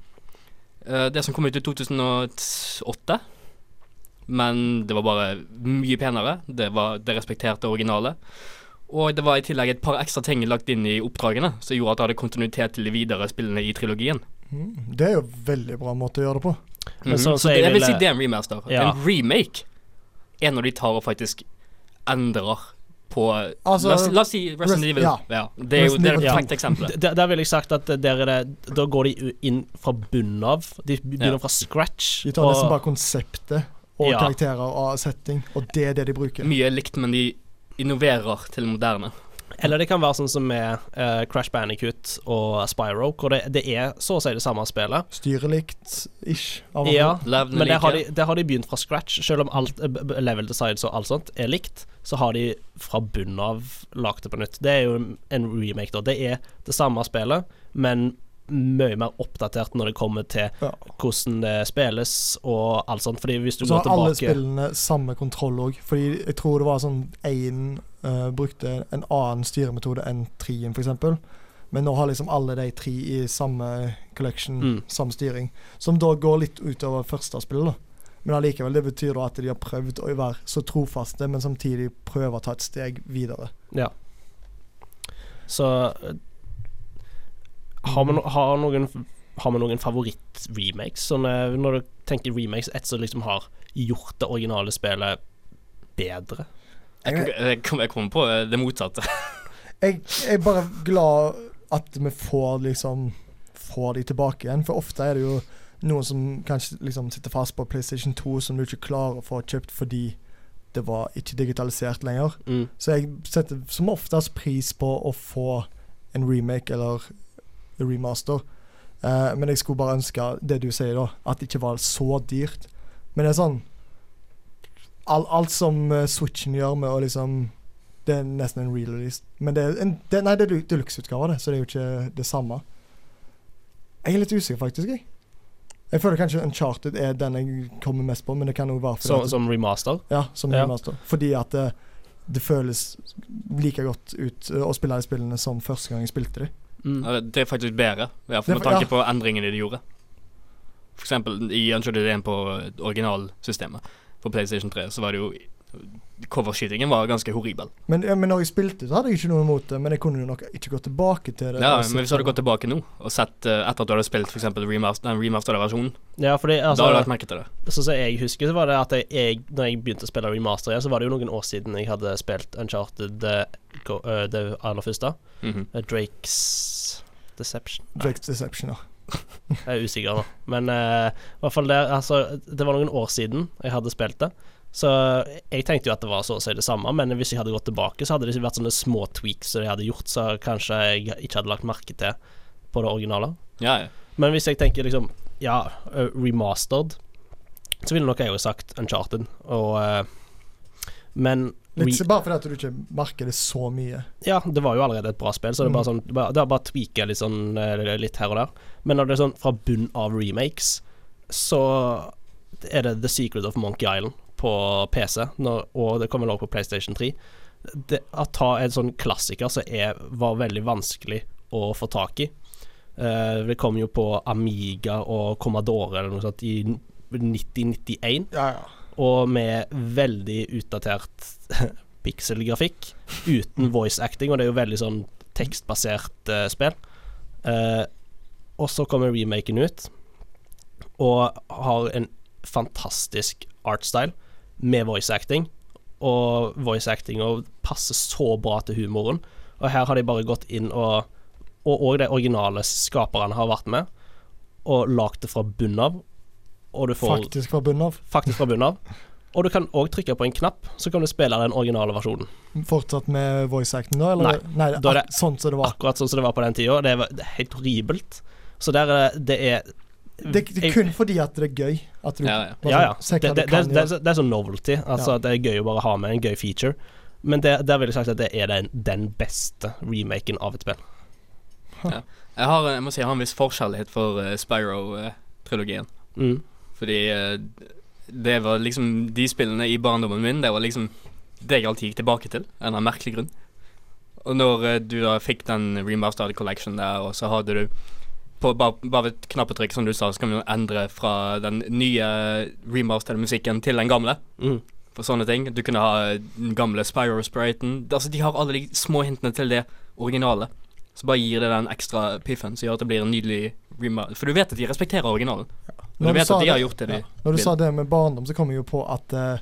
Speaker 2: eh, det som kom ut i 2008. Men det var bare mye penere. Det, var, det respekterte originale. Og det var i tillegg et par ekstra ting lagt inn i oppdragene, som gjorde at det hadde kontinuitet til de videre spillene i trilogien.
Speaker 6: Mm, Det er jo en veldig bra måte å gjøre det på.
Speaker 1: Men
Speaker 2: Mhm.
Speaker 1: sånn som
Speaker 2: Så
Speaker 1: jeg
Speaker 2: det, jeg vil si
Speaker 1: ville-
Speaker 2: det er en remaster.
Speaker 1: Ja.
Speaker 2: En remake er når de tar og faktisk endrer på
Speaker 6: Altså,
Speaker 2: la, oss, la oss si
Speaker 6: Rest-
Speaker 2: Resident Evil.
Speaker 6: ja.
Speaker 2: Ja. Det er jo
Speaker 6: Resident
Speaker 2: det er
Speaker 6: Evil
Speaker 2: et
Speaker 1: to.
Speaker 2: perfekt eksempel.
Speaker 1: Der, der vil jeg sagt at der er det Da går de u- inn fra bunnen av. De begynner
Speaker 2: Ja.
Speaker 1: fra scratch.
Speaker 6: De tar nesten bare konseptet og
Speaker 1: Ja.
Speaker 6: karakterer og setting, og det er det de bruker.
Speaker 2: Mye er likt, men de innoverer til det moderne.
Speaker 1: Eller det kan være sånn som med eh, Crash Bandicoot og Spyro, hvor det, det er så å si det samme spillet.
Speaker 6: Styrer likt, ish. av hverandre.
Speaker 1: Ja,
Speaker 2: Levende
Speaker 1: men der har,
Speaker 2: like.
Speaker 1: de, der har de begynt fra scratch. Selv om alt eh, b- b- level designs og alt sånt er likt, så har de fra bunnen av lagd det på nytt. Det er jo en remake, da. Det er det samme spillet, men mye mer oppdatert når det kommer til
Speaker 6: Ja.
Speaker 1: hvordan det spilles og alt sånt. Fordi hvis du
Speaker 6: Så
Speaker 1: går
Speaker 6: har alle
Speaker 1: tilbake
Speaker 6: spillene samme kontroll òg, fordi jeg tror det var sånn én brukte en annen styremetode enn trien, f.eks. Men nå har liksom alle de tre i samme collection,
Speaker 1: Mm.
Speaker 6: samme styring, som da går litt utover første spill, da. Men allikevel, det betyr da at de har prøvd å være så trofaste, men samtidig prøve å ta et steg videre.
Speaker 1: Så eh, har vi, no har noen, har vi noen favoritt-remakes? Sånn, eh, når du tenker remakes, et som liksom har gjort det originale spillet bedre?
Speaker 2: Jeg, kan- jeg, kom- jeg kom på eh, det motsatte.
Speaker 6: Jeg, jeg er bare glad at vi får liksom Får de tilbake igjen. For ofte er det jo noen som kanskje liksom sitter fast på PlayStation 2 som du ikke klarer å få kjøpt fordi det var ikke digitalisert lenger.
Speaker 1: Mm.
Speaker 6: Så jeg setter som oftest pris på å få en remake eller remaster. Eh, men jeg skulle bare ønske det du sier, da. At det ikke var så dyrt. Men det er sånn all, Alt som eh, Switchen gjør med å liksom Det er nesten en re-release. Men det er en det, Nei, det er deluxe-utgave, det, så det er jo ikke det samme. Jeg er litt usikker, faktisk. Jeg Jeg føler kanskje Uncharted er den jeg kommer mest på, men det kan jo være fordi
Speaker 1: Som,
Speaker 6: at-
Speaker 1: som remaster?
Speaker 6: ja, som
Speaker 1: Ja.
Speaker 6: remaster. Fordi at det, det føles like godt ut eh, å spille de spillene som første gang jeg spilte de.
Speaker 1: Mm.
Speaker 2: Ja, Det er faktisk bedre, i hvert fall med
Speaker 6: Det er-
Speaker 2: tanke
Speaker 6: ja.
Speaker 2: på endringene de gjorde. For eksempel i Uncharted 1 på eh, originalsystemet på PlayStation 3, så var det jo Coverskytingen var ganske horribel.
Speaker 6: Men, ja, men når jeg spilte, så hadde jeg ikke noe imot det, men jeg kunne jo nok ikke gå tilbake til det. Altså,
Speaker 2: Ja, men
Speaker 6: Og
Speaker 2: hvis du hadde
Speaker 6: sitte-
Speaker 2: gått tilbake nå og sett eh, etter at du hadde spilt for eksempel remaster, den remasterde versjonen,
Speaker 1: Ja, fordi
Speaker 2: da hadde du
Speaker 1: altså,
Speaker 2: lagt merke til det.
Speaker 1: Sånn som jeg husker, så var det at jeg, jeg Når jeg begynte å spille remaster igjen, så var det jo noen år siden jeg hadde spilt Uncharted eh, go- eh, det aller første.
Speaker 2: Mhm.
Speaker 1: Eh, Drakes Deception.
Speaker 6: Drake's Deception, ja.
Speaker 1: Jeg er usikker nå. Men eh, i hvert fall det Altså, det var noen år siden jeg hadde spilt det. Så jeg tenkte jo at det var så å si det samme, men hvis jeg hadde gått tilbake, så hadde det vært sånne små tweaks som jeg hadde gjort, så kanskje jeg ikke hadde lagt merke til på det originale.
Speaker 2: Ja, ja.
Speaker 1: Men hvis jeg tenker liksom Ja, eh, remastered, så ville nok jeg jo sagt Uncharted, og eh, Men
Speaker 6: Litt,
Speaker 1: re-
Speaker 6: bare fordi at du ikke merker det så mye.
Speaker 1: ja, det var jo allerede et bra spill, så det er bare sånn bare- Det er bare å tweake litt sånn eh, litt her og der. Men når det er sånn fra bunn av remakes, så er det The Secret of Monkey Island på PC, når, og det kommer vel også på PlayStation 3. Det, å ta en sånn klassiker som er- var veldig vanskelig å få tak i Eh, Det kom jo på Amiga og Commodore eller noe sånt i 9091
Speaker 6: Ja, ja.
Speaker 1: og med veldig utdatert pikselgrafikk, uten voice acting, og det er jo veldig sånn tekstbasert eh, spill. Eh, og så kommer remaken ut, og har en fantastisk artstyle med voice acting, og voice acting og passer så bra til humoren. Og her har de bare gått inn og Og òg de originale skaperne har vært med, og lagd det fra bunnen av, og du får
Speaker 6: Faktisk fra bunnen av.
Speaker 1: faktisk fra bunnen av. Og du kan òg trykke på en knapp, så kan du spille den originale versjonen.
Speaker 6: Fortsatt med voice acting da, eller? Nei, det er
Speaker 1: da er det-
Speaker 6: ak- sånn som det
Speaker 2: Ah,
Speaker 6: var.
Speaker 1: Akkurat sånn som det var på den tida. Det var det er helt horribelt. Så der er det- det er
Speaker 6: Det, det er kun fordi at det er gøy. At du
Speaker 2: Ja, ja.
Speaker 6: bare
Speaker 1: Ja, ja.
Speaker 6: sånn, se
Speaker 1: Det, det,
Speaker 6: hva du
Speaker 1: det,
Speaker 6: kan
Speaker 1: det,
Speaker 6: gjøre.
Speaker 1: er så- det er sånn novelty. Altså
Speaker 6: Ja.
Speaker 1: at Det er gøy å bare ha med en gøy feature. Men det, der vil jeg sagt at det er den, den beste remaken av et spill.
Speaker 2: Jeg, har, jeg må si jeg har en viss forskjellighet for uh, Spyro-trilogien.
Speaker 1: Mm.
Speaker 2: Fordi eh, det var liksom de spillene i barndommen min, det var liksom det jeg alltid gikk tilbake til, av en eller annen merkelig grunn. Og når eh, du da fikk den remastered collection der, og så hadde du på bare, bare ved et knappetrykk, som du sa, så kan vi jo endre fra den nye remastered musikken til den gamle.
Speaker 1: Mm.
Speaker 2: For sånne ting. Du kunne ha eh, den gamle Spyro-spriten. Altså, de har alle de små hintene til det originale. Så bare gir det den ekstra piffen som gjør at det blir en nydelig remaster. For du vet at de respekterer originalen.
Speaker 6: Når
Speaker 2: Og du vet
Speaker 6: sa
Speaker 2: at de har
Speaker 6: det-
Speaker 2: gjort det de
Speaker 6: Ja. Når du
Speaker 2: vil.
Speaker 6: sa det med barndom, så kom jeg jo på at eh,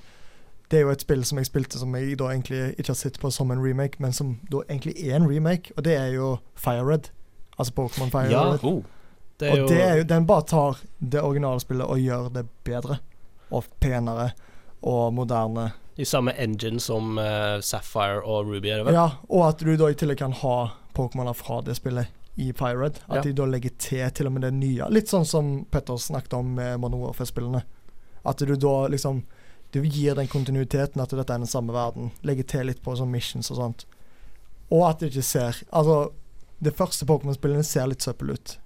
Speaker 6: det er jo et spill som jeg spilte som jeg da egentlig ikke har sett på som en remake, men som da egentlig er en remake, og det er jo Fire Red. Altså Pokémon Fire
Speaker 1: Ja,
Speaker 6: Red.
Speaker 2: Oh.
Speaker 1: Det
Speaker 6: og det er jo, den bare tar det originale spillet og gjør det bedre. Og penere og moderne.
Speaker 1: i samme engine som eh, Sapphire og Ruby, er det vel?
Speaker 6: Ja, og at du da i tillegg kan ha Pokémoner fra det spillet i Fire Red. At
Speaker 1: Ja.
Speaker 6: de da legger til til og med det nye. Litt sånn som Petter snakket om med Modern Warfare-spillene. At du da liksom Du gir den kontinuiteten at dette er den samme verden. Legger til litt på sånn missions og sånt. Og at du ikke ser Altså, det første Pokémon-spillene ser litt søppel ut.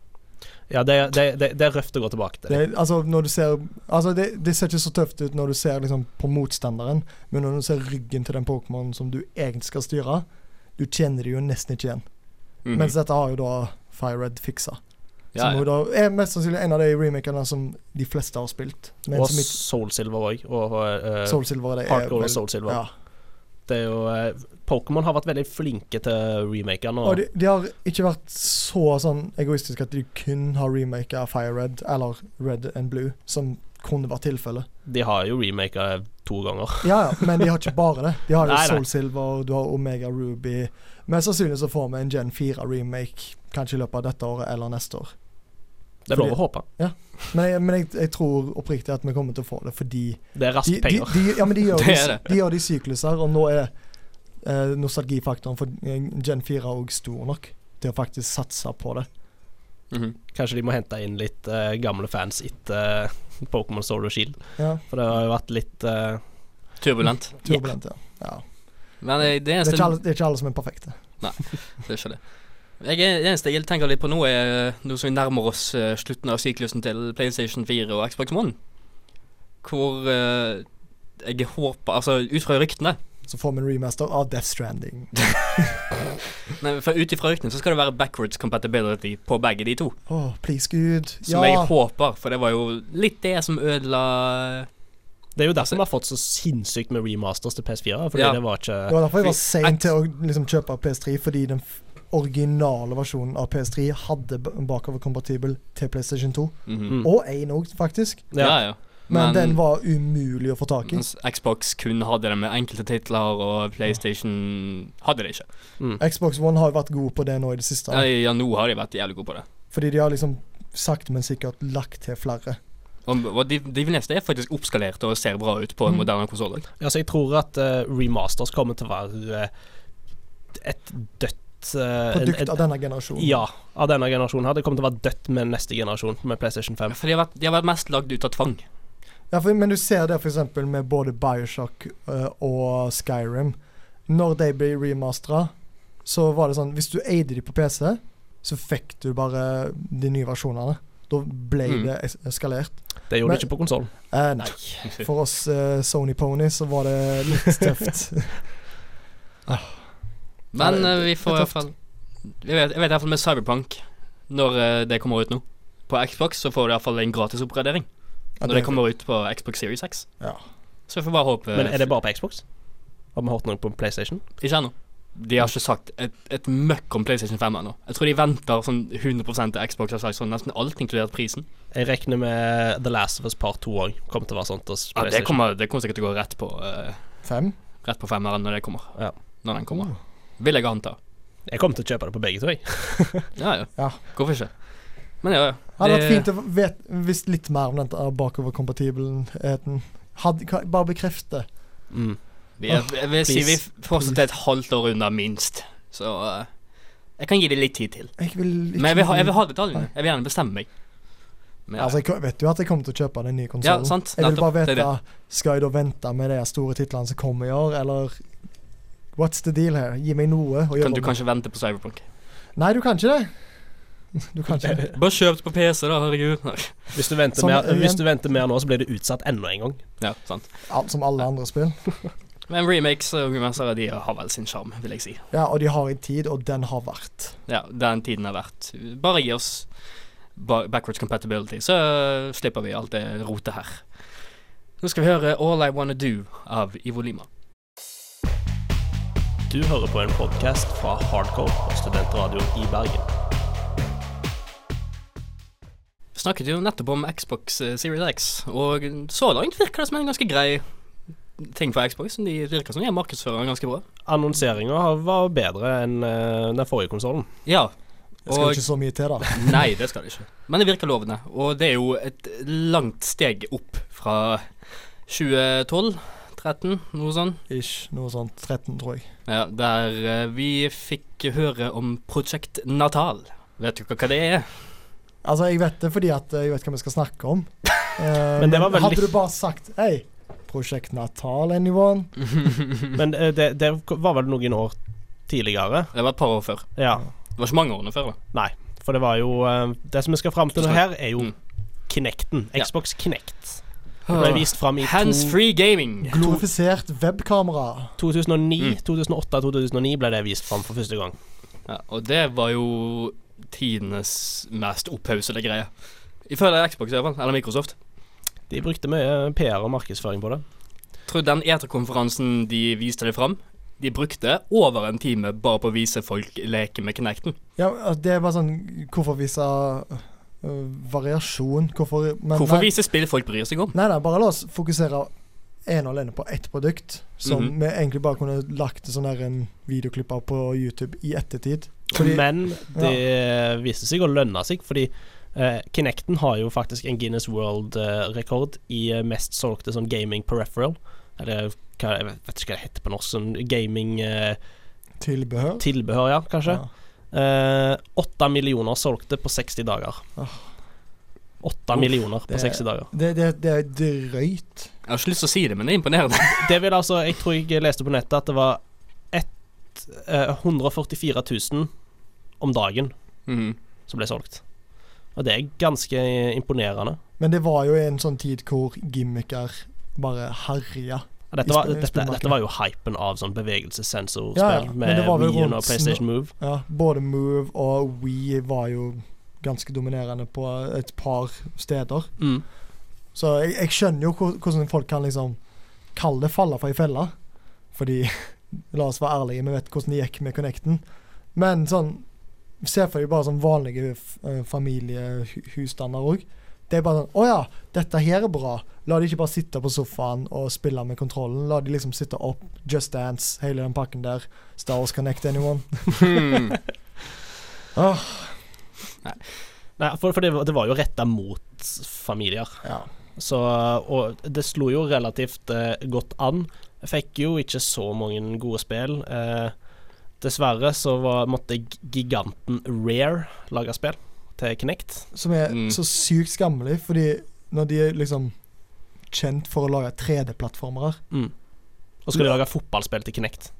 Speaker 1: Ja, det, er- det, det, det er røft å gå tilbake til.
Speaker 6: Det, altså, når du ser, altså det, det ser ikke så tøft ut når du ser liksom, på motstanderen, men når du ser ryggen til den Pokémonen som du egentlig skal styre, du kjenner det jo nesten ikke igjen.
Speaker 2: Mhm.
Speaker 6: Mens dette har jo da FireRed fiksa.
Speaker 2: ja,
Speaker 6: Som
Speaker 2: ja.
Speaker 6: jo da er mest sannsynlig en av de remakerne som de fleste har spilt. Men
Speaker 1: Og
Speaker 6: som ikke
Speaker 1: Soul Silver òg. Og eh,
Speaker 6: Soul Silver det er
Speaker 1: Hardcore og
Speaker 6: vel-
Speaker 1: Soul Silver.
Speaker 6: Ja.
Speaker 1: Det er jo eh, Pokémon har vært veldig flinke til remaker nå.
Speaker 6: Og de, de har ikke vært så sånn egoistiske at de kun har remaka FireRed eller Red and Blue, som kunne vært tilfellet.
Speaker 1: De har jo remaker to ganger.
Speaker 6: Ja, ja, men de har ikke bare det. De har jo
Speaker 1: Nei, nei.
Speaker 6: Soul Silver, du har Omega Ruby. Mest sannsynlig så får vi en Gen 4-remake kanskje i løpet av dette året eller neste år.
Speaker 1: Det er lov å håpe.
Speaker 6: Men jeg, men jeg, jeg tror oppriktig at vi kommer til å få det fordi
Speaker 1: Det er
Speaker 6: de,
Speaker 1: raske
Speaker 6: de,
Speaker 1: penger.
Speaker 6: de, ja, men de gjør,
Speaker 2: Altså, Det er
Speaker 6: de,
Speaker 2: det.
Speaker 6: de gjør de sykluser, og nå er eh, nostalgifaktoren for eh, Gen 4 òg stor nok til å faktisk satse på det.
Speaker 2: Mhm.
Speaker 1: Kanskje de må hente inn litt eh, gamle fans etter eh, Pokémon Soul og Shield.
Speaker 6: Ja,
Speaker 1: For det har jo vært litt eh,
Speaker 2: Turbulent.
Speaker 6: turbulent, ja. ja.
Speaker 2: Men eh, det
Speaker 6: Det, er
Speaker 2: eneste
Speaker 6: ikke alle, det er ikke alle som er perfekte.
Speaker 2: Det er ikke det. Jeg er, det eneste jeg tenker litt på nå, er eh, nå som vi nærmer oss eh, slutten av syklusen til PlayStation 4 og Xbox One, hvor eh, jeg håper Altså, ut fra ryktene
Speaker 6: Så får vi en remaster av Death Stranding.
Speaker 2: Nei, for Ut ifra ryktene så skal det være backwards compatibility på begge de to.
Speaker 6: Åh, please, Gud.
Speaker 2: Som jeg håper, for det var jo litt det som ødela
Speaker 1: Det er jo derfor vi har fått så sinnssykt med remasters til PS4. Fordi
Speaker 2: Ja.
Speaker 1: det var ikke
Speaker 6: Det var derfor jeg var
Speaker 2: Fordi
Speaker 6: sein
Speaker 2: at-
Speaker 6: til å liksom, kjøpe PS3, fordi den f- originale versjonen av PS3 hadde b- bakoverkompatibel til PlayStation 2.
Speaker 2: Mhm.
Speaker 6: Og 1 òg, faktisk.
Speaker 2: Ja,
Speaker 1: ja.
Speaker 2: ja.
Speaker 6: Men, den var umulig å få tak i.
Speaker 2: mens Xbox kun hadde det med enkelte titler, og PlayStation hadde det ikke.
Speaker 6: Xbox One har jo vært god på det nå i det siste.
Speaker 2: Ja, ja nå har de vært jævlig gode på det.
Speaker 6: Fordi de har liksom sakte, men sikkert lagt til flere.
Speaker 2: Eh, Og, og de, de fleste er faktisk oppskalert og ser bra ut på en
Speaker 6: Mhm.
Speaker 2: moderne konsoll.
Speaker 1: Ja, så jeg tror at eh, remasters kommer til å være eh, et dødt eh, en-
Speaker 6: Produkt
Speaker 1: en-
Speaker 6: av denne generasjonen.
Speaker 1: Ja, av denne generasjonen her. Det kommer til å være dødt med neste generasjon, med PlayStation 5.
Speaker 2: For de har, vært, de har vært mest lagd ut av tvang.
Speaker 6: Ja, for, men du ser det f.eks. med både Bioshock eh, og Skyrim. Når de ble remastera, så var det sånn Hvis du eide de på PC, så fikk du bare de nye versjonene. Da ble
Speaker 2: Mm.
Speaker 6: det es- eskalert.
Speaker 1: Det gjorde
Speaker 6: Men-
Speaker 1: de ikke på konsollen.
Speaker 6: Eh, nei. For oss eh, Sony Pony så var det litt tøft. Ja,
Speaker 2: Men
Speaker 6: det-
Speaker 2: eh, vi
Speaker 6: det er
Speaker 2: får i hvert
Speaker 6: tøft.
Speaker 2: fall Jeg vet, jeg vet i hvert fall med Cyberpunk, når eh, det kommer ut nå. På Xbox så får du i hvert fall en gratis oppgradering
Speaker 6: Ja,
Speaker 2: når det kommer ut på Xbox Series X.
Speaker 6: Ja.
Speaker 2: Så vi får bare
Speaker 6: Eh,
Speaker 2: håpe
Speaker 1: Men er det bare på Xbox? Har vi hørt noe på PlayStation?
Speaker 2: Ikke ennå. De har ikke sagt et, et møkk om PlayStation 5 ennå. Jeg tror de venter sånn 100 til Xbox har sagt sånn nesten alt, inkludert prisen.
Speaker 1: Jeg regner med The Last of Us Part 2 òg kommer til å være sånt. hos
Speaker 2: Ja, det,
Speaker 1: PlayStation.
Speaker 2: kommer, det kommer sikkert til å gå rett på eh,
Speaker 6: Fem?
Speaker 2: Rett på femmeren når det kommer.
Speaker 1: Ja.
Speaker 2: Når den kommer. Vil jeg anta.
Speaker 1: Jeg kommer til å kjøpe det på begge to, jeg.
Speaker 2: Ja, ja.
Speaker 6: Ja.
Speaker 2: Hvorfor ikke? Men ja, ja.
Speaker 6: Det hadde vært
Speaker 2: Det-
Speaker 6: fint å vet, visst litt mer om denne bakoverkompatibiliteten. Hadde- kan- Bare bekrefte.
Speaker 1: Mm.
Speaker 2: Vi er,
Speaker 6: Åh,
Speaker 2: jeg vil si vi
Speaker 1: please,
Speaker 2: er fortsatt et halvt år unna, minst. Så eh, jeg kan gi det litt tid til.
Speaker 6: Jeg vil ikke
Speaker 2: Men jeg vil ha, jeg vil ha detaljene. Jeg vil gjerne bestemme meg. Men, ja.
Speaker 6: Altså, jeg ko- vet jo at jeg kommer til å kjøpe den nye
Speaker 2: ja,
Speaker 6: konsollen.
Speaker 2: sant.
Speaker 6: Jeg vil
Speaker 2: Nettopp.
Speaker 6: bare
Speaker 2: Det
Speaker 6: vite
Speaker 2: er det.
Speaker 6: Skal jeg da vente med de store titlene som kommer i år, eller What's the deal her? Gi meg noe å gjøre
Speaker 2: Kan, du
Speaker 6: med.
Speaker 2: kan ikke vente på Cyberpunk.
Speaker 6: Nei, du kan ikke det. Du kan ikke det.
Speaker 2: Bare kjøp på PC, da, herregud. Nei.
Speaker 1: Hvis, du venter
Speaker 6: Som,
Speaker 1: mer,
Speaker 6: eh,
Speaker 1: hvis
Speaker 6: igjen-
Speaker 1: du venter mer nå, så blir det utsatt enda en gang.
Speaker 2: Ja, sant.
Speaker 6: Alt som alle andre spill.
Speaker 2: Men remakes og remasters, de har vel sin sjarm, vil jeg si.
Speaker 6: Ja, og de har en tid, og den har vært.
Speaker 2: Ja, den tiden er verdt. Bare gi oss ba backwards compatibility, så eh, slipper vi alt det rotet her. Nå skal vi høre All I Wanna Do av Ivo Lima.
Speaker 1: Du hører på en podkast fra Hardcore og studentradioen i Bergen.
Speaker 2: Vi snakket jo nettopp om Xbox eh, Series X, og så langt virker det som en ganske grei ting for Xbox. som De virker som de markedsfører den ganske bra.
Speaker 1: Annonseringa var bedre enn eh, den forrige konsollen.
Speaker 2: Ja.
Speaker 6: Det skal
Speaker 2: Og
Speaker 6: ikke så mye til, da.
Speaker 2: Nei, det skal det ikke. Men det virker lovende, og det er jo et langt steg opp fra 2012. 13, noe sånn.
Speaker 6: Ish. Noe sånt 13, tror jeg.
Speaker 2: Ja, der eh, vi fikk høre om Projekt Natal. Vet dere hva det er?
Speaker 6: Altså, jeg vet det fordi at eh, jeg vet hva vi skal snakke om. Eh,
Speaker 1: Men det var veldig-
Speaker 6: Hadde du bare sagt Hei, Prosjekt Natal, anyone?
Speaker 1: Men eh, det, det var vel noen år tidligere.
Speaker 2: Det var et par år før.
Speaker 1: Ja.
Speaker 2: Det var ikke mange årene før, da.
Speaker 1: Nei. For det var jo eh, Det som vi skal fram til nå her, er jo
Speaker 2: Mm.
Speaker 1: Kinecten.
Speaker 2: Ja.
Speaker 1: Xbox Kinect. Det ble vist fram i
Speaker 2: Hands
Speaker 1: to-
Speaker 2: free gaming.
Speaker 6: Glorifisert webkamera.
Speaker 1: 2009. 2008-2009 ble det vist fram for første gang.
Speaker 2: Ja, og det var jo tidenes mest opphaussede greie. Ifølge Xbox, i hvert fall, eller Microsoft.
Speaker 1: De brukte mye PR og markedsføring på det.
Speaker 2: Tror den eterkonferansen de viste det fram, de brukte over en time bare på å vise folk leke med Kinecten.
Speaker 6: Ja, altså, det er bare sånn Hvorfor vise øh, variasjon? Hvorfor men,
Speaker 2: Hvorfor
Speaker 6: nei,
Speaker 2: vise spill folk bryr seg om?
Speaker 6: Nei, nei, bare la oss fokusere ene og alene på ett produkt, som
Speaker 2: Mhm.
Speaker 6: vi egentlig bare kunne lagt sånn der en videoklipp av på YouTube i ettertid. Fordi-
Speaker 1: Men det viste seg å lønne seg, fordi eh, Kinecten har jo faktisk en Guinness World-rekord i eh, mest solgte sånn gaming peripheral. Eller hva, jeg vet ikke hva det heter på norsk. Sånn gaming-tilbehør,
Speaker 6: Tilbehør.
Speaker 1: ja, kanskje. Eh,
Speaker 6: Ja.
Speaker 1: Åtte millioner solgte på 60 dager.
Speaker 6: Åh.
Speaker 1: Åtte millioner på
Speaker 6: det-
Speaker 1: 60 dager.
Speaker 6: Det, det, det er drøyt.
Speaker 2: Jeg har ikke lyst til å si det, men det er imponerende.
Speaker 1: Det vil altså Jeg tror jeg leste på nettet at det var ett, eh, 144 000 om dagen
Speaker 2: Mhm.
Speaker 1: som ble solgt. Og det er ganske imponerende.
Speaker 6: Men det var jo en sånn tid hvor gimmicker bare herja.
Speaker 1: Og Dette var,
Speaker 6: I sp- i
Speaker 1: dette,
Speaker 6: spillmarkedet.
Speaker 1: dette var jo hypen av sånn bevegelsessensorspill
Speaker 6: Ja, ja, men
Speaker 1: med
Speaker 6: det var vel
Speaker 1: Wien
Speaker 6: rundt
Speaker 1: og PlayStation Move.
Speaker 6: Ja, både Move og We var jo ganske dominerende på et par steder.
Speaker 2: Hmm.
Speaker 1: Mm.
Speaker 6: Så jeg, jeg skjønner jo hvor- hvordan folk kan liksom kalle det falle for ei felle. Fordi, la oss være ærlige, vi vet hvordan det gikk med Connecten. Men sånn Se for deg bare sånn vanlige eh, familiehusstander òg. Det er bare sånn Å ja, dette her er bra. La de ikke bare sitte på sofaen og spille med kontrollen. La de liksom sitte opp, Just Dance, hele den pakken der. Star Wars Connect Anyone.
Speaker 2: Hmm.
Speaker 6: Åh,
Speaker 1: Nei, for, for det, var- det var jo retta mot familier.
Speaker 6: ja.
Speaker 1: Så, og det slo jo relativt eh, godt an. Jeg fikk jo ikke så mange gode spill. Eh, dessverre så var, måtte g- giganten Rare lage spill til Kinect.
Speaker 6: Som er
Speaker 2: Mm.
Speaker 6: så sykt skammelig, fordi når de er liksom kjent for å lage 3D-plattformere
Speaker 1: Og skulle lage fotballspill til Kinect.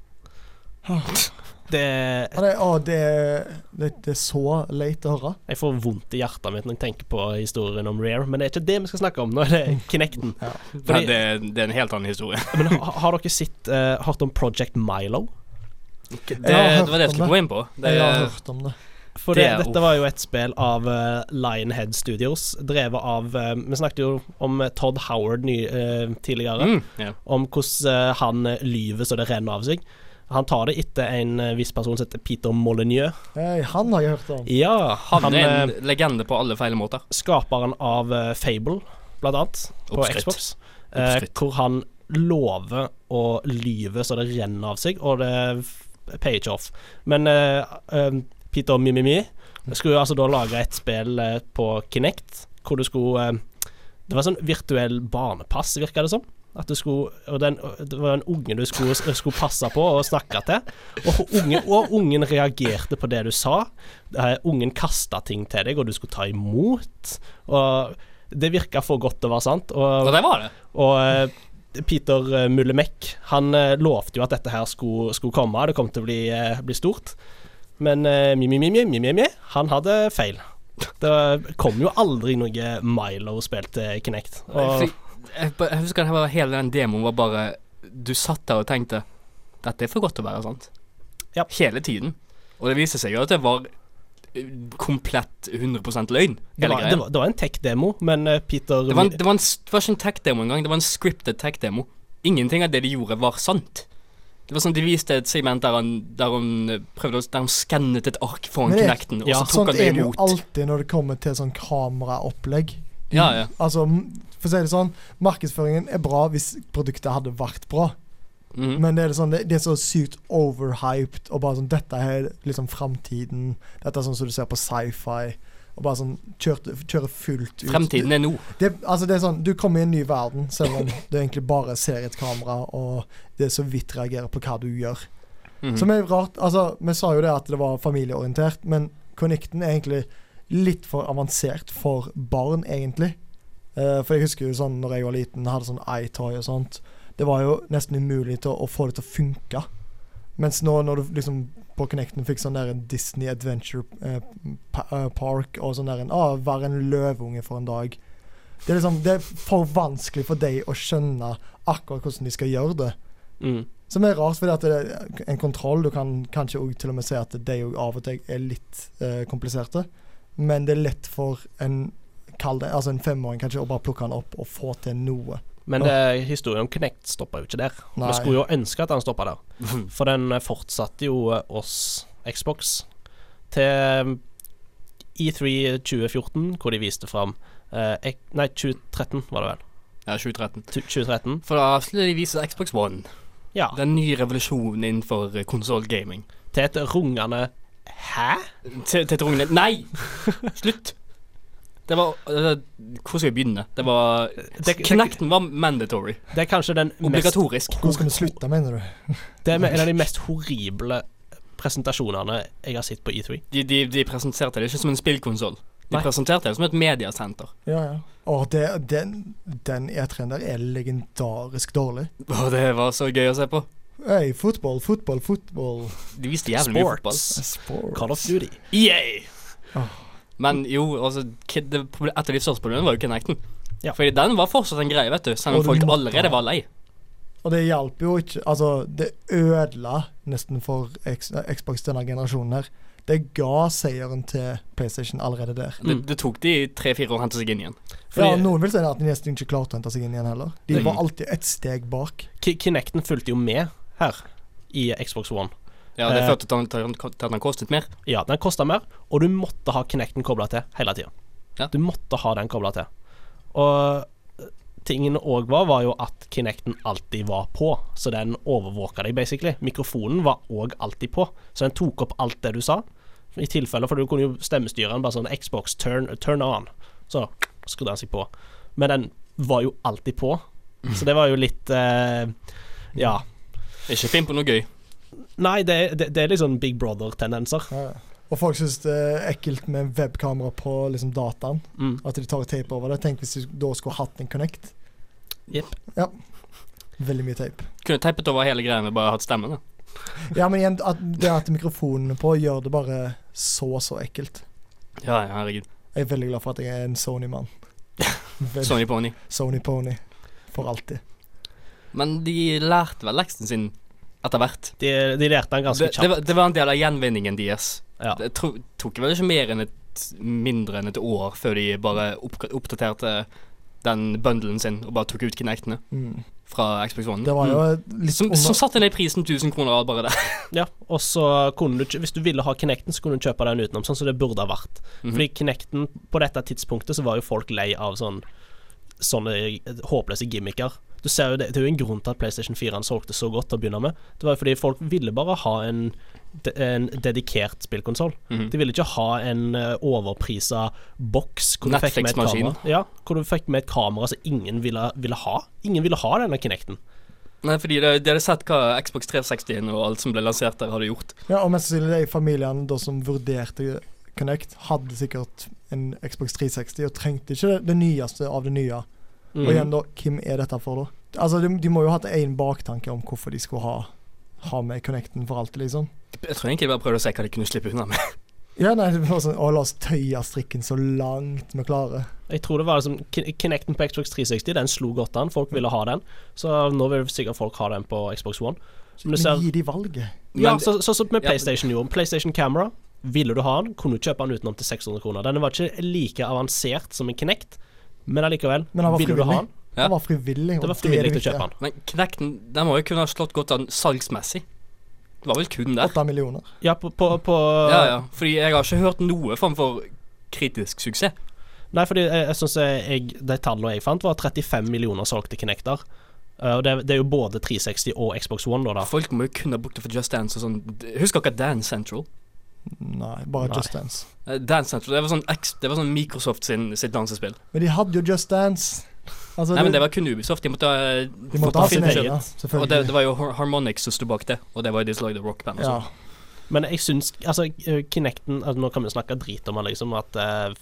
Speaker 1: Det,
Speaker 6: Ja, det, å, det, det, det er så leit å høre.
Speaker 1: jeg får vondt i hjertet mitt når jeg tenker på historien om Rare, men det er ikke det vi skal snakke om nå, det er Kinecten.
Speaker 6: Ja.
Speaker 2: Nei,
Speaker 1: Fordi,
Speaker 2: det, det er en helt annen historie.
Speaker 1: men har, har dere sett, eh, hørt om Project Milo?
Speaker 2: Det, det
Speaker 6: har hørt
Speaker 2: var det jeg
Speaker 6: om
Speaker 2: skulle
Speaker 6: det.
Speaker 2: gå inn på. Det,
Speaker 6: Jeg har hørt om det.
Speaker 1: For
Speaker 2: Det
Speaker 1: det,
Speaker 2: er-
Speaker 1: dette var jo et spill av eh, Lionhead Studios, drevet av eh, Vi snakket jo om eh, Todd Howard ny, eh, tidligere,
Speaker 2: Mm, ja.
Speaker 1: om hvordan eh, han eh, lyver så det renner av seg. Han tar det etter en eh, viss person som heter Peter Molyneux.
Speaker 6: Hei, han har jeg hørt om.
Speaker 1: Ja,
Speaker 2: Han,
Speaker 1: han
Speaker 2: er
Speaker 1: eh,
Speaker 2: en legende på alle feil måter.
Speaker 1: skaperen av eh, Fable, blant annet, på
Speaker 2: Oppskrytt.
Speaker 1: Xbox. eh,
Speaker 2: Oppskrytt.
Speaker 1: hvor han lover og lyver så det renner av seg, og det f- payer ikke off. Men eh, eh, Peter Mimimi skulle jo altså da lage et spill eh, på Kinect, hvor du skulle eh, Det var sånn virtuell barnepass, virka det som. At du skulle, og den, Det var en unge du skulle, skulle passe på og snakke til. Og ungen, og ungen reagerte på det du sa. Eh, ungen kasta ting til deg, og du skulle ta imot. Og det virka for godt til å være sant.
Speaker 2: Og
Speaker 1: Og,
Speaker 2: det var det.
Speaker 1: og eh, Peter eh, Mullemek, han eh, lovte jo at dette her skulle, skulle komme, det kom til å bli, eh, bli stort. Men eh, mi, mi, mi, mi, mi, mi, mi, han hadde feil. Det kom jo aldri noe Milo-spill til eh, Kinect. Og,
Speaker 2: Jeg, jeg, ba- jeg husker det var hele den demoen var bare Du satt der og tenkte Dette er for godt til å være sant.
Speaker 1: Ja.
Speaker 2: Hele tiden. Og det viste seg jo at det var eh, komplett 100 løgn.
Speaker 1: det,
Speaker 2: Hele
Speaker 1: var,
Speaker 2: greia.
Speaker 1: det, var, det var en tech-demo, men eh, Peter
Speaker 2: Det var, en- det, var en, s- det var ikke en tech-demo engang, det var en scripted tech-demo. Ingenting av det de gjorde, var sant. Det var sånn De viste et segment der han, der hun eh, prøvde å Der hun skannet et ark foran
Speaker 6: Men det-
Speaker 2: Kinecten, og
Speaker 1: ja,
Speaker 2: så tok
Speaker 6: Sånt
Speaker 2: han det
Speaker 6: Sånn er det jo
Speaker 2: imot.
Speaker 6: alltid når det kommer til sånn kameraopplegg.
Speaker 2: Ja, ja.
Speaker 6: Altså, m- for å si det sånn, markedsføringen er bra hvis produktet hadde vært bra,
Speaker 2: Mhm.
Speaker 6: men det er, sånn, det, det er så sykt overhyped, og bare sånn Dette er liksom framtiden. Dette er sånn som du ser på sci-fi. Og bare sånn kjørte, kjøre fullt ut.
Speaker 2: Fremtiden er nå.
Speaker 6: Det, altså det er sånn, Du kommer i en ny verden, selv om du egentlig bare ser et kamera, og det så vidt reagerer på hva du gjør.
Speaker 2: Mhm.
Speaker 6: Som er rart, altså, Vi sa jo det at det var familieorientert, men Connecten er egentlig litt for avansert for barn, egentlig. Eh, for jeg husker jo sånn når jeg var liten, hadde sånn iToy og sånt. Det var jo nesten umulig til å, å få det til å funke. Mens nå når du liksom på Connecten fikk sånn der en Disney Adventure eh, pa eh, Park og sånn der en ah, Vær en løveunge for en dag. Det er liksom Det er for vanskelig for deg å skjønne akkurat hvordan de skal gjøre det.
Speaker 1: Mm.
Speaker 6: Som er rart, fordi at det er en kontroll Du kan kanskje også til og med si at de jo av og til er litt eh, kompliserte. Men det er lett for en kall det, altså en femåring kanskje å bare plukke den opp og få til noe.
Speaker 1: Men det, historien om Knect stoppa jo ikke der.
Speaker 6: Nei.
Speaker 1: Vi skulle jo ønske at han stoppa der.
Speaker 2: Mhm.
Speaker 1: For den eh, fortsatte jo eh, oss, Xbox, til mm, E E3 2014, hvor de viste fram eh, ek- Nei, 2013 var det vel.
Speaker 2: Ja, 2013.
Speaker 1: Tu- 2013.
Speaker 2: For da skulle de vise Xbox One.
Speaker 1: Ja.
Speaker 2: Den nye revolusjonen innenfor eh, konsollgaming.
Speaker 1: Til et rungende Hæ?
Speaker 2: Til, til trungene Nei! Slutt! Det var eh, Hvor skal jeg begynne? Det var
Speaker 1: Det, det,
Speaker 2: Knekten var mandatory.
Speaker 1: det er kanskje den mest
Speaker 2: Obligatorisk.
Speaker 6: Hvor skal vi slutte, mener du?
Speaker 1: Det er en av de mest horrible presentasjonene jeg har sett på E E3.
Speaker 2: De, de, de presenterte det ikke som en spillkonsoll. De
Speaker 1: Nei.
Speaker 2: presenterte det som et mediasenter.
Speaker 6: Ja, ja. Å, det, den, den E3-en der er legendarisk dårlig.
Speaker 2: Og det var så gøy å se på.
Speaker 6: Hei, fotball, fotball, fotball.
Speaker 2: De viste jævlig mye fotball.
Speaker 6: Sport.
Speaker 1: Call of Duty.
Speaker 2: Yay!
Speaker 6: Åh.
Speaker 2: Men jo, altså kid- det, proble- Et av de største problemene var jo Kinecten.
Speaker 1: Ja.
Speaker 2: Fordi den var fortsatt en greie, vet du. Selv
Speaker 6: Og
Speaker 2: om
Speaker 6: du
Speaker 2: folk
Speaker 6: måtte
Speaker 2: allerede
Speaker 6: ha.
Speaker 2: var lei.
Speaker 6: Og det hjalp jo ikke Altså, det ødela nesten for X, Xbox denne generasjonen her. Det ga seieren til PlayStation allerede der.
Speaker 2: Det, det tok de tre-fire år å hente seg inn igjen.
Speaker 1: Fordi
Speaker 6: ja, Noen vil si at de nesten ikke klarte å hente seg inn igjen heller. De
Speaker 2: Mm.
Speaker 6: var alltid ett steg bak.
Speaker 1: Ki- Kinecten fulgte jo med her i Xbox One.
Speaker 2: Ja, Det
Speaker 1: Eh.
Speaker 2: førte til at den- til at den kostet mer.
Speaker 1: Ja, den kosta mer, og du måtte ha Kinecten kobla til hele tida.
Speaker 2: Ja.
Speaker 1: Du måtte ha den kobla til. Og eh, tingen òg var, var jo at Kinecten alltid var på, så den overvåka deg, basically. Mikrofonen var òg alltid på, så den tok opp alt det du sa. I tilfelle, for du kunne jo stemmestyre den bare sånn Xbox turn, turn on, så skrudde han seg på. Men den var jo alltid på, så det var jo litt eh, Ja.
Speaker 2: Ikke finn på noe gøy.
Speaker 1: Nei, det, det, det er liksom Big Brother-tendenser.
Speaker 6: Ja. Og folk syns det er ekkelt med webkamera på liksom, dataen.
Speaker 1: Mm.
Speaker 6: At de tar teip over det. Tenk hvis du da skulle hatt en Connect.
Speaker 1: Jepp.
Speaker 6: Ja. Veldig mye teip.
Speaker 2: Kunne teipet over hele greia med bare hatt stemmen. da.
Speaker 6: Ja, men igjen, at det at mikrofonene på gjør det bare så, så ekkelt.
Speaker 2: Ja, ja, herregud.
Speaker 6: Jeg er veldig glad for at jeg er en Sony-mann. Vel-
Speaker 2: Sony Pony.
Speaker 6: Sony Pony. For alltid.
Speaker 2: Men de lærte vel leksen sin etter hvert.
Speaker 1: De, de lærte den ganske
Speaker 2: Det, det,
Speaker 1: kjapt.
Speaker 2: var, det var en del av gjenvinningen deres.
Speaker 1: Ja.
Speaker 2: Det tro, tok vel ikke mer enn et, mindre enn et år før de bare oppgra- oppdaterte den bundlen sin og bare tok ut Kinectene
Speaker 6: Mm.
Speaker 2: fra Xbox One.
Speaker 6: Det var jo litt
Speaker 2: Mm. Som, som
Speaker 6: under
Speaker 2: satte ned prisen 1000 kroner alt bare der.
Speaker 1: Ja, og så kunne du ikke Hvis du ville ha Kinecten, så kunne du kjøpe den utenom, sånn som det burde ha vært.
Speaker 2: Mhm.
Speaker 1: Fordi Kinecten På dette tidspunktet så var jo folk lei av sånn sånne eh, håpløse gimmicker. Du ser jo det, det er jo en grunn til at PlayStation 4 solgte så godt til å begynne med. Det var jo fordi folk ville bare ha en, de- en dedikert spillkonsoll.
Speaker 2: Mhm.
Speaker 1: De ville ikke ha en eh, overprisa boks hvor du fikk med et
Speaker 2: Netflix-maskin.
Speaker 1: kamera. Ja, hvor du fikk med et kamera som ingen ville, ville ha. Ingen ville ha denne Kinecten.
Speaker 2: Nei, fordi det, de hadde sett hva Xbox 360 og alt som ble lansert der, hadde gjort.
Speaker 6: Ja, og mest sannsynlig de familiene da som vurderte Connect, hadde sikkert en Xbox 360 og trengte ikke det, det nyeste av det nye.
Speaker 1: Mm.
Speaker 2: Mhm.
Speaker 6: Og igjen, da, hvem er dette for, da? Altså, De, de må jo ha hatt en baktanke om hvorfor de skulle ha, ha med Connecten for alltid, liksom.
Speaker 2: Jeg tror egentlig de bare prøvde å se hva de kunne slippe unna med.
Speaker 6: Ja, nei, det var sånn Å, la oss tøye strikken så langt vi klarer.
Speaker 1: Jeg tror det var liksom Kin- Kinecten på Xbox 360, den slo godt an. Folk ville ha den. Så nå vil sikkert folk ha den på Xbox One. Men
Speaker 6: Men
Speaker 1: du ser
Speaker 6: gi de valget.
Speaker 1: Ja,
Speaker 2: Men-
Speaker 1: så- sånn som med
Speaker 2: Ja, men-
Speaker 1: PlayStation gjorde. PlayStation Camera. Ville du ha den, kunne du kjøpe den utenom til 600 kroner. Den var ikke like avansert som en Kinect, men allikevel.
Speaker 6: Men han var
Speaker 1: Ville du ha
Speaker 6: frivillig.
Speaker 1: den?
Speaker 2: Ja.
Speaker 6: Han var frivillig. og
Speaker 1: Det var
Speaker 6: er
Speaker 1: frivillig å
Speaker 6: viktige.
Speaker 1: kjøpe den.
Speaker 2: Men Knekten den må jo kunne ha slått godt an salgsmessig. Det var vel kun der.
Speaker 6: Åtte millioner.
Speaker 1: Ja, på, på, på
Speaker 2: Ja, ja. Fordi jeg har ikke hørt noe form for kritisk suksess.
Speaker 1: Nei, fordi jeg, jeg syns jeg De tallene jeg fant, var 35 millioner solgte Kinecter. Eh, Og det, det er jo både 360 og Xbox One, da. da.
Speaker 2: Folk må jo kunne ha brukt det for Just Dance og sånn. Husker dere Dance Central?
Speaker 6: Nei, bare
Speaker 1: Nei.
Speaker 6: Just Dance.
Speaker 2: Eh, Dance Central, Det var sånn, X, det var sånn Microsoft sin, sitt dansespill.
Speaker 6: Men de hadde jo Just Dance. Altså,
Speaker 2: Nei, men det var kun Ubisoft. De måtte, eh,
Speaker 6: de måtte ha sin
Speaker 1: fått eget.
Speaker 6: egen, ja,
Speaker 2: Og det, det
Speaker 6: selvfølgelig.
Speaker 2: var jo Har- Harmonix som sto bak det, og det var jo de som lagde rockband. Og
Speaker 6: Ja.
Speaker 2: sånn.
Speaker 1: Men jeg syns Altså, eh, Kinecten altså, Nå kan vi snakke drit om den, liksom, at eh,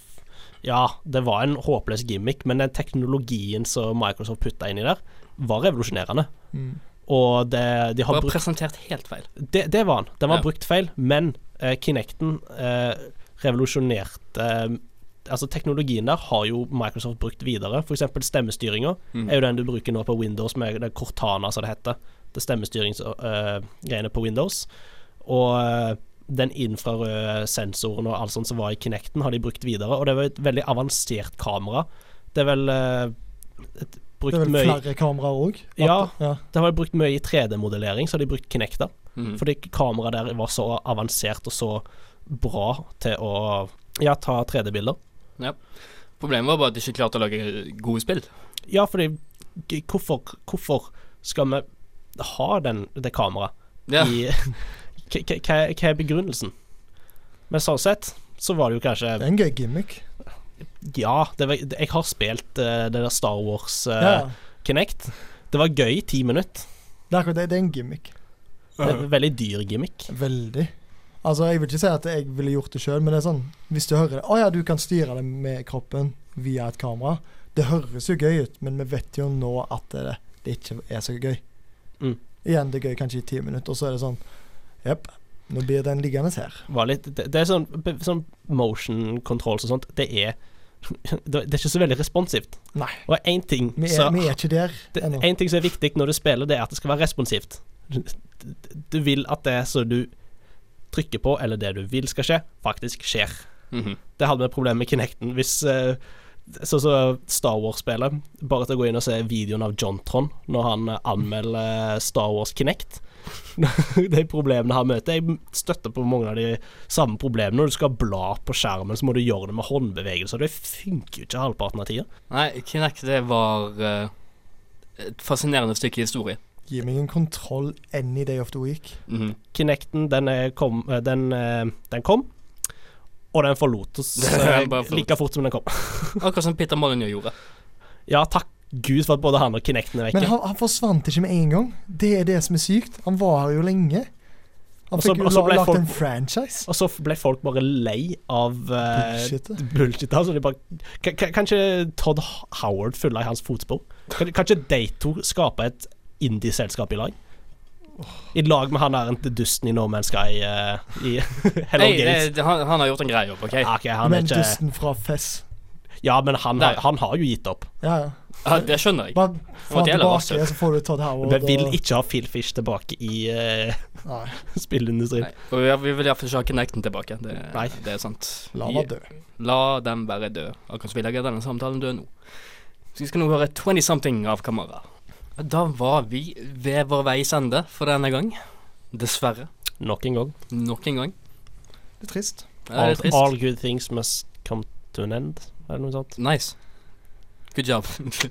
Speaker 1: Ja, det var en håpløs gimmick, men den teknologien som Microsoft putta inni der, var revolusjonerende.
Speaker 6: Mm.
Speaker 1: Og det, de har
Speaker 2: Bare
Speaker 1: brukt
Speaker 2: presentert helt feil.
Speaker 1: det, det var han. Den var
Speaker 2: Ja.
Speaker 1: brukt feil, men eh, Kinecten eh, revolusjonerte eh, Altså, teknologien der har jo Microsoft brukt videre. F.eks. stemmestyringa
Speaker 2: Mm.
Speaker 1: er jo den du bruker nå på Windows med det er Cortana, som det heter. Det stemmestyringsgreiene eh, på Windows. Og eh, den infrarøde sensoren og alt sånt som var i Kinecten, har de brukt videre. Og det var et veldig avansert kamera. Det er vel eh, et,
Speaker 6: Det er
Speaker 1: brukt
Speaker 6: vel
Speaker 1: mye
Speaker 6: flere kameraer òg?
Speaker 1: Ja.
Speaker 6: ja.
Speaker 1: Det har vært brukt mye i 3D-modellering, så har de brukt Kinecter.
Speaker 2: Mm.
Speaker 1: Fordi kameraet der var så avansert og så bra til å ja, ta 3D-bilder.
Speaker 2: Problemet var bare at de ikke klarte å lage gode spill.
Speaker 1: Ja, fordi g- hvorfor, hvorfor skal vi ha den, det kameraet
Speaker 2: Ja.
Speaker 1: i Hva- hva- Hva hva er begrunnelsen? Men sånn sett så var det jo
Speaker 6: Det
Speaker 1: kanskje
Speaker 6: er en gøy gimmick.
Speaker 1: Ja, det var, jeg har spilt eh, det der Star Wars eh,
Speaker 6: Ja, ja.
Speaker 1: Kinect. Det var gøy i ti minutter.
Speaker 6: Det er akkurat det. Det er en gimmick.
Speaker 1: Det er en Veldig dyr gimmick.
Speaker 6: Veldig. Altså, jeg vil ikke si at jeg ville gjort det sjøl, men det er sånn Hvis du hører det Å ja, du kan styre det med kroppen via et kamera. Det høres jo gøy ut, men vi vet jo nå at det, det ikke er så gøy.
Speaker 1: Mm.
Speaker 6: Igjen, det er gøy kanskje i ti minutter, og så er det sånn Jepp, nå blir den liggende her.
Speaker 1: var litt Det, det er sånn, be- sånn motion controls og sånt. Det er Det er ikke så veldig responsivt.
Speaker 6: Nei.
Speaker 1: Og én ting,
Speaker 6: Vi er,
Speaker 1: så-
Speaker 6: vi er ikke der
Speaker 1: det-
Speaker 6: ennå.
Speaker 1: en ting som er viktig når du spiller, det er at det skal være responsivt. Du- Du vil at det som du trykker på, eller det du vil skal skje, faktisk skjer.
Speaker 2: Mhm.
Speaker 1: Det hadde vi et problem med Kinecten. Hvis eh, Sånn som Star Wars-spillet. Bare til å gå inn og se videoen av John Tron når han eh, anmelder Star Wars Kinect. de problemene han møter. Jeg støtter på mange av de samme problemene. Når du skal bla på skjermen, så må du gjøre det med håndbevegelser. Det funker jo ikke halvparten av tida.
Speaker 2: Nei, Kinect det var eh, et fascinerende stykke historie.
Speaker 6: Gi meg en kontroll any day of the week.
Speaker 2: Mhm.
Speaker 1: Kinecten, den eh, kom, eh, den, eh, den kom og den forlot oss eh,
Speaker 2: Den bare forlot.
Speaker 1: like fort som den kom.
Speaker 2: Akkurat som Peter Molyneux gjorde.
Speaker 1: Ja, takk Gud for at både han og Kinecten er
Speaker 6: Men
Speaker 1: vekke.
Speaker 6: han, han forsvant ikke med en gang. Det er det som er sykt. Han var her jo lenge. Han
Speaker 1: Og så-
Speaker 6: fikk
Speaker 1: og
Speaker 6: jo
Speaker 1: så ble
Speaker 6: la- lagt
Speaker 1: folk-
Speaker 6: en franchise.
Speaker 1: Og så ble folk bare lei av eh,
Speaker 6: Bullshit. det.
Speaker 1: Bullshit, altså. De bare, kan, kan kan ikke Todd Howard følge i hans fotspor? Kan, kan ikke de to skape et indie-selskap i lag? I lag med han der ente dusten i No Man's Sky eh, i Hello
Speaker 2: Nei, eh,
Speaker 1: Games.
Speaker 2: det, det, han, han har gjort en grei jobb, OK?
Speaker 1: Ja, ok, han er
Speaker 6: Men
Speaker 1: ikke,
Speaker 6: dusten fra Fess.
Speaker 1: ja, men han,
Speaker 2: Nei.
Speaker 1: har- han har jo gitt opp.
Speaker 6: Ja, ja.
Speaker 2: Ja, det skjønner jeg.
Speaker 6: Bare
Speaker 2: Og
Speaker 6: få
Speaker 2: det er
Speaker 6: tilbake,
Speaker 2: lavt.
Speaker 6: så får du Todd Howard.
Speaker 1: Vi vil
Speaker 6: og-
Speaker 1: ikke ha Phil Fish tilbake i eh,
Speaker 6: Nei,
Speaker 1: spillindustrien.
Speaker 2: Nei. Og vi, vi vil iallfall ikke ha Kinecten tilbake. Det,
Speaker 1: Nei.
Speaker 2: det er sant.
Speaker 6: la meg dø.
Speaker 2: La dem være død. Akkurat som vi legger denne samtalen død nå. Så vi skal nå høre 20 something av Kamara. Da var vi ved vår veis ende for denne gang. Dessverre.
Speaker 1: Nok en gang.
Speaker 2: Nok en gang.
Speaker 6: Det er trist.
Speaker 2: Ja,
Speaker 1: All,
Speaker 2: det er trist.
Speaker 1: all good things must come to an end, eller noe sånt.
Speaker 2: Nice. Good job.
Speaker 6: Sel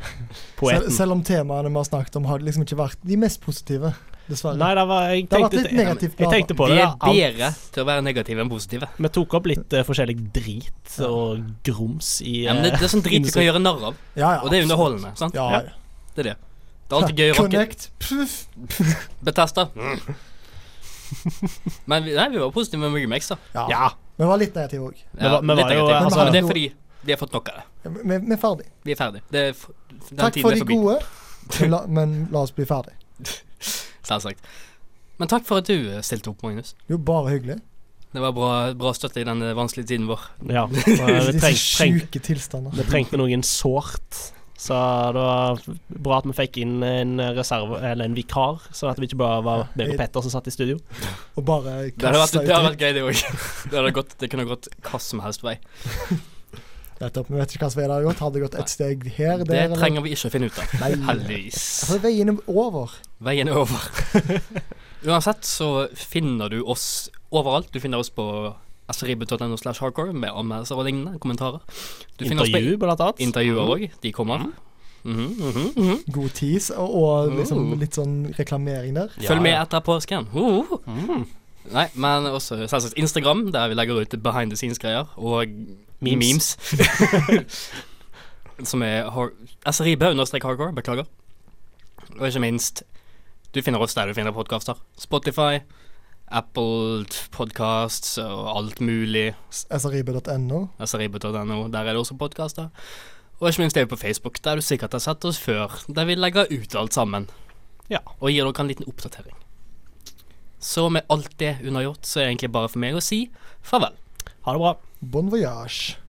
Speaker 1: Poeten.
Speaker 6: selv om temaene vi har snakket om, har liksom ikke vært de mest positive, dessverre.
Speaker 1: Nei, det var, jeg,
Speaker 6: det har vært
Speaker 1: tenkte,
Speaker 6: litt negativt.
Speaker 1: jeg tenkte på
Speaker 2: Vi
Speaker 1: det.
Speaker 2: er
Speaker 1: alt-
Speaker 2: bedre til å være negative enn positive.
Speaker 1: Vi tok opp litt eh, forskjellig drit
Speaker 6: Ja.
Speaker 1: og grums i eh,
Speaker 2: Ja, men det, det er sånn drit du kan gjøre narr av,
Speaker 6: Ja, ja.
Speaker 2: og det er
Speaker 6: absolutt.
Speaker 2: underholdende. sant?
Speaker 6: Ja,
Speaker 1: Ja.
Speaker 6: ja.
Speaker 2: Det er det. Det er alltid gøy å rocke.
Speaker 6: Connect. Puff.
Speaker 2: Betesta. Men vi, nei, vi var positive med Muggy Max, da.
Speaker 6: Ja.
Speaker 1: Ja.
Speaker 6: Vi var litt negative òg.
Speaker 1: Men hva- men
Speaker 2: litt
Speaker 1: var jo-
Speaker 2: negative.
Speaker 1: altså-
Speaker 2: men det er fordi vi har fått nok av det.
Speaker 6: Vi vi er ferdig.
Speaker 2: Vi er ferdig. Det er f den
Speaker 6: Takk
Speaker 2: tiden
Speaker 6: for
Speaker 2: er
Speaker 6: de
Speaker 2: forbi,
Speaker 6: gode, men la, men la oss bli ferdig.
Speaker 2: selvsagt. Men takk for at du eh, stilte opp, Magnus.
Speaker 6: Jo, bare hyggelig.
Speaker 2: Det var bra, bra støtte i den eh, vanskelige tiden vår.
Speaker 1: Ja. og Vi treng,
Speaker 6: Disse
Speaker 1: treng,
Speaker 6: sjuke tilstander.
Speaker 1: vi trengte noen sårt. Så det var bra at vi fikk inn en reserve, eller en vikar, sånn at vi ikke bare var meg og Petter som satt i studio.
Speaker 6: Og bare
Speaker 2: Det hadde vært,
Speaker 6: kaste ut
Speaker 2: det hadde
Speaker 6: dritt.
Speaker 2: vært gøy, det òg. Det, hadde gått- det kunne gått hva som helst vei.
Speaker 6: Nettopp. Vi vet ikke hva som hadde gått. Hadde det gått
Speaker 2: Nei.
Speaker 6: et steg her,
Speaker 2: Det
Speaker 6: der
Speaker 2: trenger vi ikke å finne ut av.
Speaker 6: Nei.
Speaker 2: Heldigvis.
Speaker 6: Altså, veien er over.
Speaker 2: Veien er over. Uansett så finner du oss overalt. Du finner oss på srib.no slash hardcore med anmeldelser og lignende kommentarer. Du finner oss på
Speaker 1: Intervju, blant annet.
Speaker 2: intervjuer òg. De kommer.
Speaker 1: Mm.
Speaker 2: Mhm, mhm, mhm.
Speaker 6: God tease og, og liksom
Speaker 2: Oh.
Speaker 6: litt sånn reklamering der.
Speaker 1: Ja,
Speaker 2: Følg med
Speaker 1: ja.
Speaker 2: etter påsken. Uh, uh.
Speaker 1: Mm.
Speaker 2: Nei, men også selvsagt Instagram, der vi legger ut behind the scenes-greier og memes.
Speaker 1: Memes.
Speaker 2: Som er har- srib-hardcore, beklager. Og ikke minst, du finner oss der du finner podkaster. Spotify, Apple Podcasts og alt mulig.
Speaker 6: srib.no.
Speaker 2: srib.no, der er det også podkaster. Og ikke minst er vi på Facebook, der du sikkert har sett oss før, der vi legger ut alt sammen.
Speaker 1: Ja.
Speaker 2: og gir dere en liten oppdatering. Så med alt det unnagjort, så er det egentlig bare for meg å si farvel.
Speaker 1: Ha det bra.
Speaker 6: Bon voyage.